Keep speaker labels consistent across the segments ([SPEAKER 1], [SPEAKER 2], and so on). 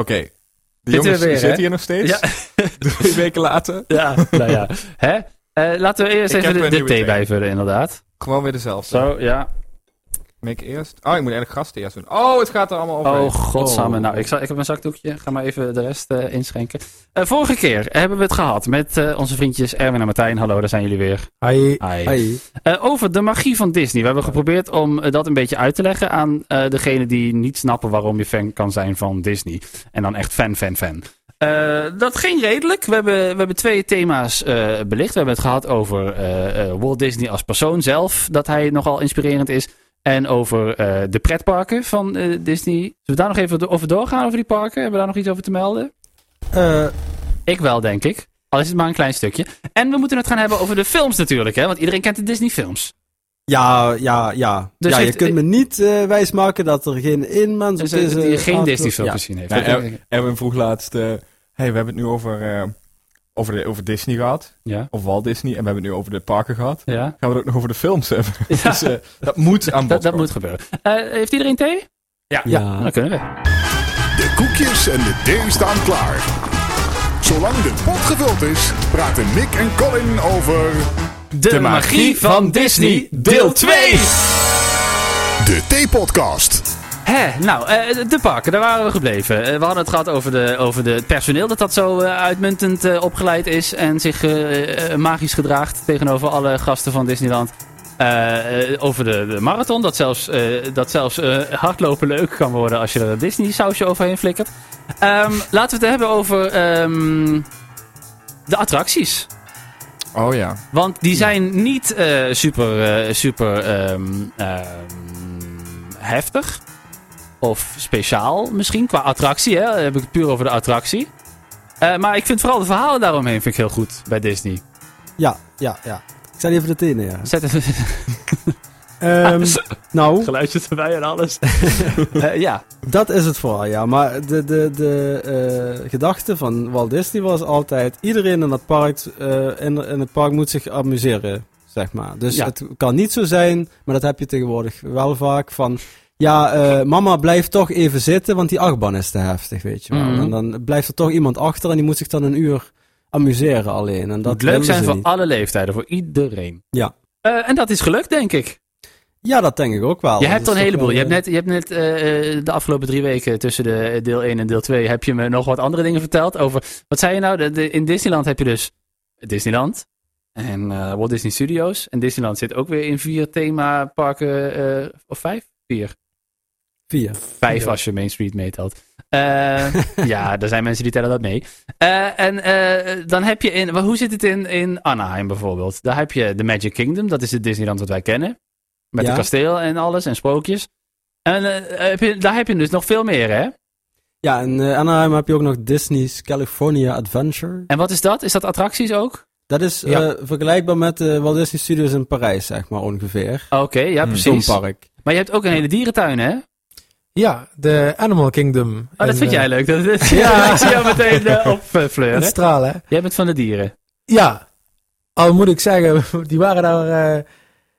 [SPEAKER 1] Oké. Die
[SPEAKER 2] Zitten
[SPEAKER 1] jongens
[SPEAKER 2] we weer,
[SPEAKER 1] zitten
[SPEAKER 2] hè?
[SPEAKER 1] hier nog steeds.
[SPEAKER 2] Ja.
[SPEAKER 1] Drie weken later.
[SPEAKER 2] Ja, nou ja. Hè? Eh, laten we eerst
[SPEAKER 1] Ik
[SPEAKER 2] even
[SPEAKER 1] heb
[SPEAKER 2] de,
[SPEAKER 1] een
[SPEAKER 2] de
[SPEAKER 1] nieuwe
[SPEAKER 2] thee
[SPEAKER 1] thee.
[SPEAKER 2] bijvullen, inderdaad.
[SPEAKER 1] Gewoon weer dezelfde.
[SPEAKER 2] Zo, ja.
[SPEAKER 1] Mick eerst. Oh, ik moet eigenlijk gasten eerst doen. Oh, het gaat er allemaal over.
[SPEAKER 2] Oh, godsamme. Nou, ik, zal, ik heb een zakdoekje. Ga maar even de rest eh, inschenken. Eh, vorige keer hebben we het gehad met eh, onze vriendjes Erwin en Martijn. Hallo, daar zijn jullie weer.
[SPEAKER 3] Hi.
[SPEAKER 2] Hi.
[SPEAKER 3] Hi.
[SPEAKER 2] Eh, over de magie van Disney. We hebben geprobeerd om eh, dat een beetje uit te leggen aan eh degenen die niet snappen waarom je fan kan zijn van Disney. En dan echt fan, fan, fan. Eh, dat ging redelijk. We hebben, we hebben twee thema's eh, belicht. We hebben het gehad over eh, eh, Walt Disney als persoon zelf, dat hij nogal inspirerend is. En over eh, de pretparken van eh, Disney. Zullen we daar nog even do- over doorgaan, over die parken? Hebben we daar nog iets over te melden?
[SPEAKER 3] Eh,
[SPEAKER 2] Ik wel, denk ik. Al is het maar een klein stukje. En we moeten het gaan hebben over de films natuurlijk, hè? want iedereen kent de Disney-films.
[SPEAKER 3] ja, ja, ja.
[SPEAKER 2] Dus
[SPEAKER 3] ja, je
[SPEAKER 2] heeft-
[SPEAKER 3] kunt me niet eh, wijsmaken dat er geen één mens op
[SPEAKER 2] Dus, eh,
[SPEAKER 3] deze...
[SPEAKER 2] die geen
[SPEAKER 3] aardkloot-
[SPEAKER 2] Disney-film
[SPEAKER 3] Ja.
[SPEAKER 2] gezien heeft.
[SPEAKER 1] Ja,
[SPEAKER 2] Dat-
[SPEAKER 1] eh, Erwin vroeg laatst... eh, hey, we hebben het nu over, eh, over, de, over Disney gehad.
[SPEAKER 2] ja.
[SPEAKER 1] Of Walt Disney. En we hebben het nu over de parken gehad.
[SPEAKER 2] ja.
[SPEAKER 1] Gaan we het ook nog over de films hebben.
[SPEAKER 2] Ja.
[SPEAKER 1] Dus eh, dat moet aan bod
[SPEAKER 2] Dat, dat
[SPEAKER 1] komen.
[SPEAKER 2] moet gebeuren. Eh, heeft iedereen thee?
[SPEAKER 3] Ja.
[SPEAKER 2] Dan kunnen we.
[SPEAKER 4] De koekjes en de thee staan klaar. Zolang de pot gevuld is, praten Mick en Colin over
[SPEAKER 2] De, magie van Disney, deel 2!
[SPEAKER 4] de theepodcast.
[SPEAKER 2] Hè, nou, eh, de parken, daar waren we gebleven. Eh, we hadden het gehad over, de, over de, het personeel dat dat zo eh, uitmuntend eh, opgeleid is en zich eh, eh, magisch gedraagt tegenover alle gasten van Disneyland. Eh, eh, over de, de marathon, dat zelfs, eh, dat zelfs eh, hardlopen leuk kan worden als je er een Disney sausje overheen flikkert. Ehm, laten we het hebben over ehm, de attracties.
[SPEAKER 1] Oh ja.
[SPEAKER 2] Want die zijn niet eh, super, eh, super ehm, ehm, heftig. Of speciaal misschien, qua attractie. Hè? Dan heb ik het puur over de attractie. Eh, maar ik vind vooral de verhalen daaromheen vind ik heel goed bij Disney.
[SPEAKER 3] Ja, ja, ja. Ik zet even de thee neer.
[SPEAKER 2] Zet even Ah,
[SPEAKER 3] Ehm, nou,
[SPEAKER 2] geluidjes erbij en alles. Eh, ja.
[SPEAKER 3] dat is het vooral, ja. Maar de, de, de eh, gedachte van Walt Disney was altijd... iedereen in, dat park, eh, in, in het park moet zich amuseren, zeg maar. Dus
[SPEAKER 2] Ja.
[SPEAKER 3] het kan niet zo zijn, maar dat heb je tegenwoordig wel vaak van... Ja, eh, mama blijft toch even zitten, want die achtbaan is te heftig, weet je wel.
[SPEAKER 2] Mhm.
[SPEAKER 3] En dan blijft er toch iemand achter en die moet zich dan een uur amuseren alleen. En dat
[SPEAKER 2] Dat leuk
[SPEAKER 3] willen
[SPEAKER 2] zijn
[SPEAKER 3] ze
[SPEAKER 2] voor
[SPEAKER 3] niet.
[SPEAKER 2] alle leeftijden, voor iedereen.
[SPEAKER 3] Ja.
[SPEAKER 2] Eh, en dat is gelukt, denk ik.
[SPEAKER 3] Ja, dat denk ik ook wel.
[SPEAKER 2] Je
[SPEAKER 3] Dat
[SPEAKER 2] hebt
[SPEAKER 3] is
[SPEAKER 2] er een
[SPEAKER 3] toch
[SPEAKER 2] heleboel.
[SPEAKER 3] wel,
[SPEAKER 2] Je hebt
[SPEAKER 3] eh,
[SPEAKER 2] net, je hebt net eh, eh, de afgelopen drie weken tussen de eh, deel 1 en deel 2 heb je me nog wat andere dingen verteld over. Wat zei je nou? De, de- in Disneyland heb je dus Disneyland en eh, Walt Disney Studios. En Disneyland zit ook weer in vier themaparken. eh of vijf? Vier.
[SPEAKER 3] eh, Vier.
[SPEAKER 2] Vijf
[SPEAKER 3] Ja.
[SPEAKER 2] als je Main Street meetelt. Eh, ja, er zijn mensen die tellen dat mee. Eh, en eh, dan heb je in. wa- Hoe zit het in, in Anaheim bijvoorbeeld? Daar heb je de Magic Kingdom, dat is het Disneyland wat wij kennen. Met
[SPEAKER 3] Ja.
[SPEAKER 2] een kasteel en alles en sprookjes. En eh, heb je- daar heb je dus nog veel meer, hè?
[SPEAKER 3] Ja, en eh, Anaheim heb je ook nog Disney's California Adventure.
[SPEAKER 2] En wat is dat? Is dat attracties ook?
[SPEAKER 3] Dat is eh,
[SPEAKER 2] Ja.
[SPEAKER 3] vergelijkbaar met de Walt Disney Studios in Parijs, zeg maar ongeveer.
[SPEAKER 2] Oké, ja,
[SPEAKER 1] Hmm.
[SPEAKER 2] precies.
[SPEAKER 3] Zo'n park.
[SPEAKER 2] Maar je hebt ook een hele dierentuin, hè? Oh,
[SPEAKER 5] Ja, de Animal Kingdom.
[SPEAKER 2] dat
[SPEAKER 5] En,
[SPEAKER 2] vind
[SPEAKER 5] eh,
[SPEAKER 2] jij leuk. Dat, dat-
[SPEAKER 5] Ja.
[SPEAKER 2] ik zie jou meteen eh, op eh,
[SPEAKER 5] Het
[SPEAKER 2] fleuren.
[SPEAKER 5] stralen. hè?
[SPEAKER 2] Jij bent van de dieren.
[SPEAKER 5] Ja, al moet ik zeggen, die waren daar. eh,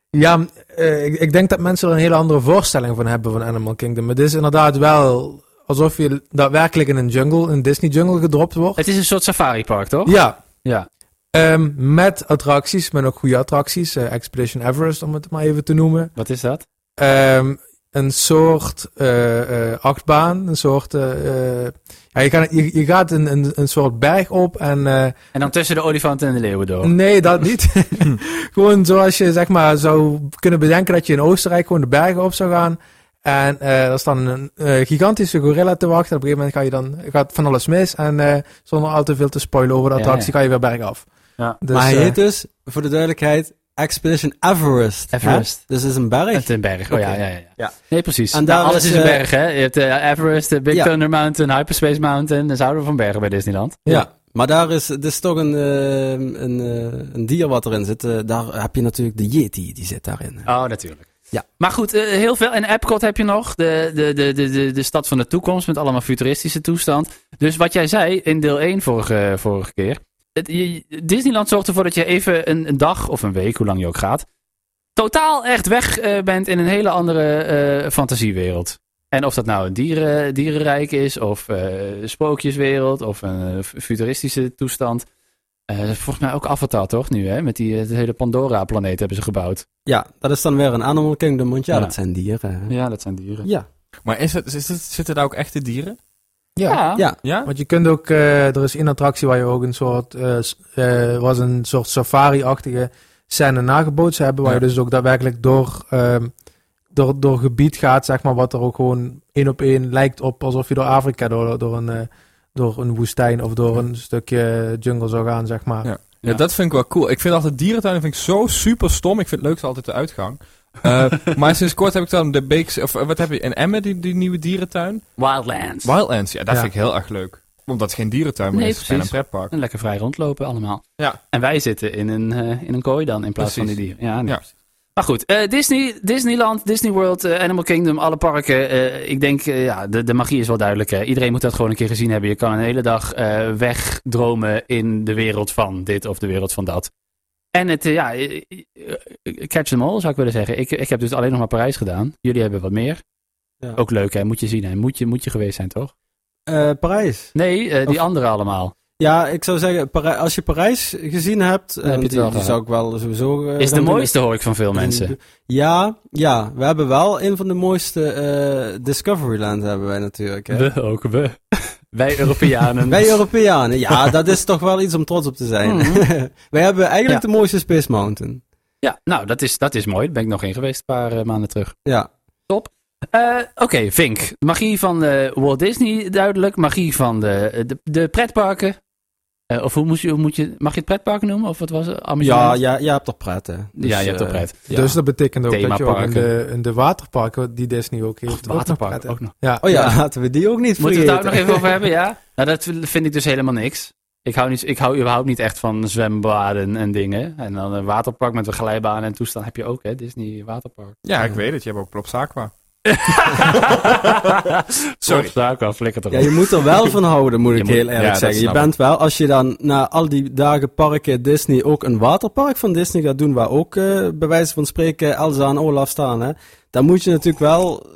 [SPEAKER 5] ja, eh, ik, ik denk dat mensen er een hele andere voorstelling van hebben van Animal Kingdom. Maar het is inderdaad wel alsof je daadwerkelijk in een jungle, een Disney jungle gedropt wordt.
[SPEAKER 2] Het is een soort safaripark, toch?
[SPEAKER 5] Ja,
[SPEAKER 2] Ja.
[SPEAKER 5] ehm, met attracties, met ook goede attracties. eh, Expedition Everest, om het maar even te noemen.
[SPEAKER 2] Wat is dat?
[SPEAKER 5] Ehm, een soort eh, eh, achtbaan, een soort. eh, eh, ja, je, kan, je, je gaat een, een, een soort berg op en eh,
[SPEAKER 2] En dan tussen de olifanten en de leeuwen door.
[SPEAKER 5] Nee, dat niet. gewoon zoals je zeg maar zou kunnen bedenken dat je in Oostenrijk gewoon de bergen op zou gaan. En eh er staan een eh, gigantische gorilla te wachten. Op een gegeven moment ga je dan gaat van alles mis. En eh, zonder al te veel te spoilen over de
[SPEAKER 2] Ja,
[SPEAKER 5] attractie ga je weer bergaf.
[SPEAKER 2] Ja.
[SPEAKER 5] Dus,
[SPEAKER 3] maar hij
[SPEAKER 5] eh,
[SPEAKER 3] heet dus, voor de duidelijkheid, Expedition Everest. hè?
[SPEAKER 2] Everest.
[SPEAKER 3] Dus het is een berg.
[SPEAKER 2] Het is een berg, oh ja,
[SPEAKER 3] Oké.
[SPEAKER 2] ja, ja, ja.
[SPEAKER 3] Ja.
[SPEAKER 2] Nee, precies.
[SPEAKER 3] En
[SPEAKER 2] Nou,
[SPEAKER 3] daar
[SPEAKER 2] alles
[SPEAKER 3] is,
[SPEAKER 2] is een
[SPEAKER 3] eh,
[SPEAKER 2] berg, hè. Je hebt eh, Everest, de Big
[SPEAKER 3] Ja.
[SPEAKER 2] Thunder Mountain, Hyperspace Mountain. Dan zouden we van bergen bij Disneyland.
[SPEAKER 3] Ja. Maar daar is, het is toch een, eh, een, eh, een dier wat erin zit. Eh, daar heb je natuurlijk de Yeti, die zit daarin.
[SPEAKER 2] Oh, natuurlijk.
[SPEAKER 3] Ja.
[SPEAKER 2] Maar goed, eh, heel veel. En Epcot heb je nog. De, de, de, de, de, de stad van de toekomst met allemaal futuristische toestand. Dus wat jij zei in deel 1 vorige, vorige keer. Het, je- Disneyland zorgt ervoor dat je even een, een dag of een week, hoe lang je ook gaat. Totaal echt weg eh, bent in een hele andere eh, fantasiewereld. En of dat nou een dieren, dierenrijk is, of eh, spookjeswereld, of een eh, fu- futuristische toestand. Eh, volgens mij ook Avatar, toch? Nu, hè? Met die eh, de hele Pandora-planeet hebben ze gebouwd.
[SPEAKER 3] Ja, dat is dan weer een Animal Kingdom, want ja,
[SPEAKER 2] Ja.
[SPEAKER 3] dat zijn dieren. hè.
[SPEAKER 2] Ja, dat zijn dieren.
[SPEAKER 3] Ja.
[SPEAKER 1] Maar is het, is het, zitten daar ook echte dieren?
[SPEAKER 5] Ja.
[SPEAKER 3] Ja.
[SPEAKER 1] Ja?
[SPEAKER 5] Want je kunt ook, eh, er is één attractie waar je ook een soort, eh, s- eh, was een soort safari-achtige scène nagebootst hebben, waar
[SPEAKER 1] Ja.
[SPEAKER 5] je dus ook daadwerkelijk door, ehm, door, door gebied gaat, zeg maar, wat er ook gewoon één op één lijkt op alsof je door Afrika, door, door, een, eh, door een woestijn of door een stukje jungle zou gaan, zeg maar.
[SPEAKER 1] Ja.
[SPEAKER 5] Ja.
[SPEAKER 1] Ja, dat vind ik wel cool. Ik vind altijd dierentuinen vind ik zo super stom. Ik vind het leukste altijd de uitgang. Eh, maar sinds kort heb ik dan de Beeks... Of eh, wat heb je? In Emmen, die, die nieuwe dierentuin?
[SPEAKER 2] Wildlands.
[SPEAKER 1] Wildlands. Ja, dat
[SPEAKER 5] Ja.
[SPEAKER 1] vind ik heel erg leuk. Omdat het geen dierentuin meer
[SPEAKER 2] Nee,
[SPEAKER 1] is. Het is bijna een
[SPEAKER 2] precies.
[SPEAKER 1] pretpark.
[SPEAKER 2] En lekker vrij rondlopen allemaal.
[SPEAKER 1] Ja.
[SPEAKER 2] En wij zitten in een, eh, in een kooi dan, in plaats van
[SPEAKER 1] Precies.
[SPEAKER 2] die dieren. Ja, nee,
[SPEAKER 1] Ja.
[SPEAKER 2] precies. Maar goed, eh, Disney, Disneyland, Disney World, eh, Animal Kingdom, alle parken. eh, ik denk, eh, ja, de, de magie is wel duidelijk. hè. Iedereen moet dat gewoon een keer gezien hebben. Je kan een hele dag eh, wegdromen in de wereld van dit of de wereld van dat. En het, eh, ja, eh, eh, catch them all zou ik willen zeggen. Ik, ik heb dus alleen nog maar Parijs gedaan. Jullie hebben wat meer.
[SPEAKER 3] Ja.
[SPEAKER 2] Ook leuk, hè? Moet je zien, hè? Moet je, moet je geweest zijn, toch?
[SPEAKER 3] Eh, Parijs.
[SPEAKER 2] Nee, eh, die
[SPEAKER 3] Of-
[SPEAKER 2] andere allemaal.
[SPEAKER 3] Ja, ik zou zeggen, Parij- als je Parijs gezien hebt, eh,
[SPEAKER 2] heb je het
[SPEAKER 3] die,
[SPEAKER 2] wel
[SPEAKER 3] die
[SPEAKER 2] gehad.
[SPEAKER 3] zou ik wel sowieso... eh,
[SPEAKER 2] Is de
[SPEAKER 3] gaan doen.
[SPEAKER 2] mooiste, hoor ik van veel mensen.
[SPEAKER 3] Ja, ja, we hebben wel een van de mooiste eh Discoveryland hebben wij natuurlijk. Hè?
[SPEAKER 2] We ook, we. Wij Europeanen.
[SPEAKER 3] Wij Europeanen, ja, dat is toch wel iets om trots op te zijn. wij hebben eigenlijk de mooiste Space Mountain.
[SPEAKER 2] Ja, nou, dat is, dat is mooi. Daar ben ik nog in geweest een paar eh, maanden terug.
[SPEAKER 3] Ja,
[SPEAKER 2] Eh, Oké, Vink. Magie van eh, Walt Disney, duidelijk. Magie van de, de, de pretparken. Eh, of hoe, moest je, hoe moet je... Mag je het pretpark noemen? Of wat was het?
[SPEAKER 3] ja,
[SPEAKER 2] Amusement?
[SPEAKER 3] ja, je hebt toch pret, hè? Dus,
[SPEAKER 2] ja, je hebt
[SPEAKER 3] eh,
[SPEAKER 2] toch pret.
[SPEAKER 3] ja.
[SPEAKER 5] Dus dat betekent ook dat je ook in
[SPEAKER 2] Themaparken.
[SPEAKER 5] de, in de waterparken, die Disney ook heeft,
[SPEAKER 2] Och, het
[SPEAKER 5] ook nog
[SPEAKER 2] waterpark
[SPEAKER 5] prettig.
[SPEAKER 2] ook nog.
[SPEAKER 5] Ja.
[SPEAKER 3] Oh ja,
[SPEAKER 2] Ja.
[SPEAKER 3] laten we die ook niet
[SPEAKER 2] Moeten we het daar ook nog
[SPEAKER 3] vergeten.
[SPEAKER 2] even over hebben, ja? Nou, dat vind ik dus helemaal niks. Ik hou, niet, ik hou überhaupt niet echt van zwembaden en dingen. En dan een waterpark met een glijbaan en toestand heb je ook, hè? Disney waterpark.
[SPEAKER 1] Ja, ik weet het. Je hebt ook Plopsa Aqua.
[SPEAKER 2] Sorry. Daar flikker toch
[SPEAKER 3] Ja, je moet er wel van houden, moet
[SPEAKER 2] Je
[SPEAKER 3] ik
[SPEAKER 2] moet-
[SPEAKER 3] heel
[SPEAKER 1] ja,
[SPEAKER 3] eerlijk
[SPEAKER 1] dat
[SPEAKER 3] zeggen. Je
[SPEAKER 1] snap
[SPEAKER 3] bent wel, als je dan na al die dagen parken Disney ook een waterpark van Disney gaat doen, waar ook eh, bij wijze van spreken Elsa en Olaf staan, hè, dan moet je natuurlijk wel eh,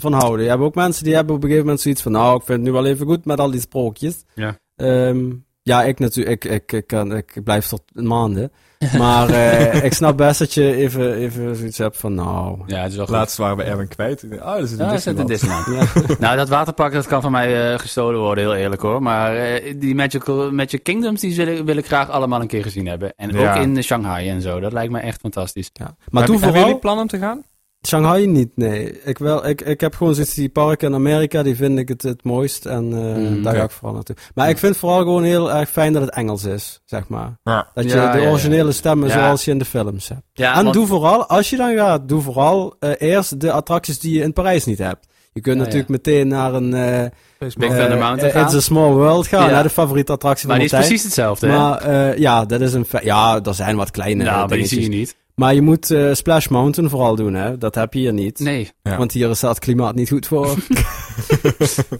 [SPEAKER 3] van houden. Je hebt ook mensen die hebben op een gegeven moment zoiets van, nou, ik vind het nu wel even goed met al die sprookjes.
[SPEAKER 2] Ja.
[SPEAKER 3] Ehm, ja, ik natuurlijk, ik, ik, ik, kan, ik blijf tot maanden. Maar eh, ik snap best dat je even, even zoiets hebt van, nou...
[SPEAKER 2] Ja, het is wel goed.
[SPEAKER 1] Laatst waren we Erwin kwijt. Oh, dat is een
[SPEAKER 2] Ja, dat is net een
[SPEAKER 1] Disneyland.
[SPEAKER 2] Disneyland.
[SPEAKER 3] Ja.
[SPEAKER 2] nou, dat waterpark dat kan van mij eh, gestolen worden, heel eerlijk hoor. Maar eh, die Magical, Magic Kingdoms die wil, ik- wil ik graag allemaal een keer gezien hebben. En
[SPEAKER 1] Ja.
[SPEAKER 2] ook in eh, Shanghai en zo. Dat lijkt me echt fantastisch.
[SPEAKER 3] Ja. Maar
[SPEAKER 1] Heb-
[SPEAKER 3] toen
[SPEAKER 1] hebben
[SPEAKER 3] vooral...
[SPEAKER 1] jullie plan om te gaan?
[SPEAKER 3] Shanghai niet, nee. Ik, wel, ik, ik heb gewoon zoiets, die parken in Amerika, die vind ik het, het mooist. En eh,
[SPEAKER 2] Mm,
[SPEAKER 3] daar
[SPEAKER 1] ja.
[SPEAKER 3] ga ik vooral naartoe. Maar ik vind vooral gewoon heel erg fijn dat het Engels is, zeg maar.
[SPEAKER 1] Ja.
[SPEAKER 3] Dat je
[SPEAKER 2] Ja, ja,
[SPEAKER 3] de
[SPEAKER 2] ja.
[SPEAKER 3] originele stemmen
[SPEAKER 2] Ja.
[SPEAKER 3] zoals je in de films hebt.
[SPEAKER 2] Ja,
[SPEAKER 3] en doe vooral, als je dan gaat, doe vooral eh, eerst de attracties die je in Parijs niet hebt. Je kunt
[SPEAKER 2] Ja, Dus
[SPEAKER 3] natuurlijk meteen naar een... eh,
[SPEAKER 2] Big
[SPEAKER 3] eh,
[SPEAKER 2] Thunder Mountain
[SPEAKER 3] eh, It's
[SPEAKER 2] gaan.
[SPEAKER 3] a Small World gaan,
[SPEAKER 2] Ja.
[SPEAKER 3] hè, de favoriete attractie
[SPEAKER 2] maar
[SPEAKER 3] van
[SPEAKER 2] die is
[SPEAKER 3] Martijn.
[SPEAKER 2] precies hetzelfde, hè?
[SPEAKER 3] Maar eh, ja, dat is een... fe- Ja, er zijn wat kleine
[SPEAKER 2] nou, maar die
[SPEAKER 3] dingetjes.
[SPEAKER 2] zie je niet.
[SPEAKER 3] Maar je moet eh, Splash Mountain vooral doen, hè. Dat heb je hier niet.
[SPEAKER 2] Nee.
[SPEAKER 1] Ja.
[SPEAKER 3] Want hier is dat klimaat niet goed voor.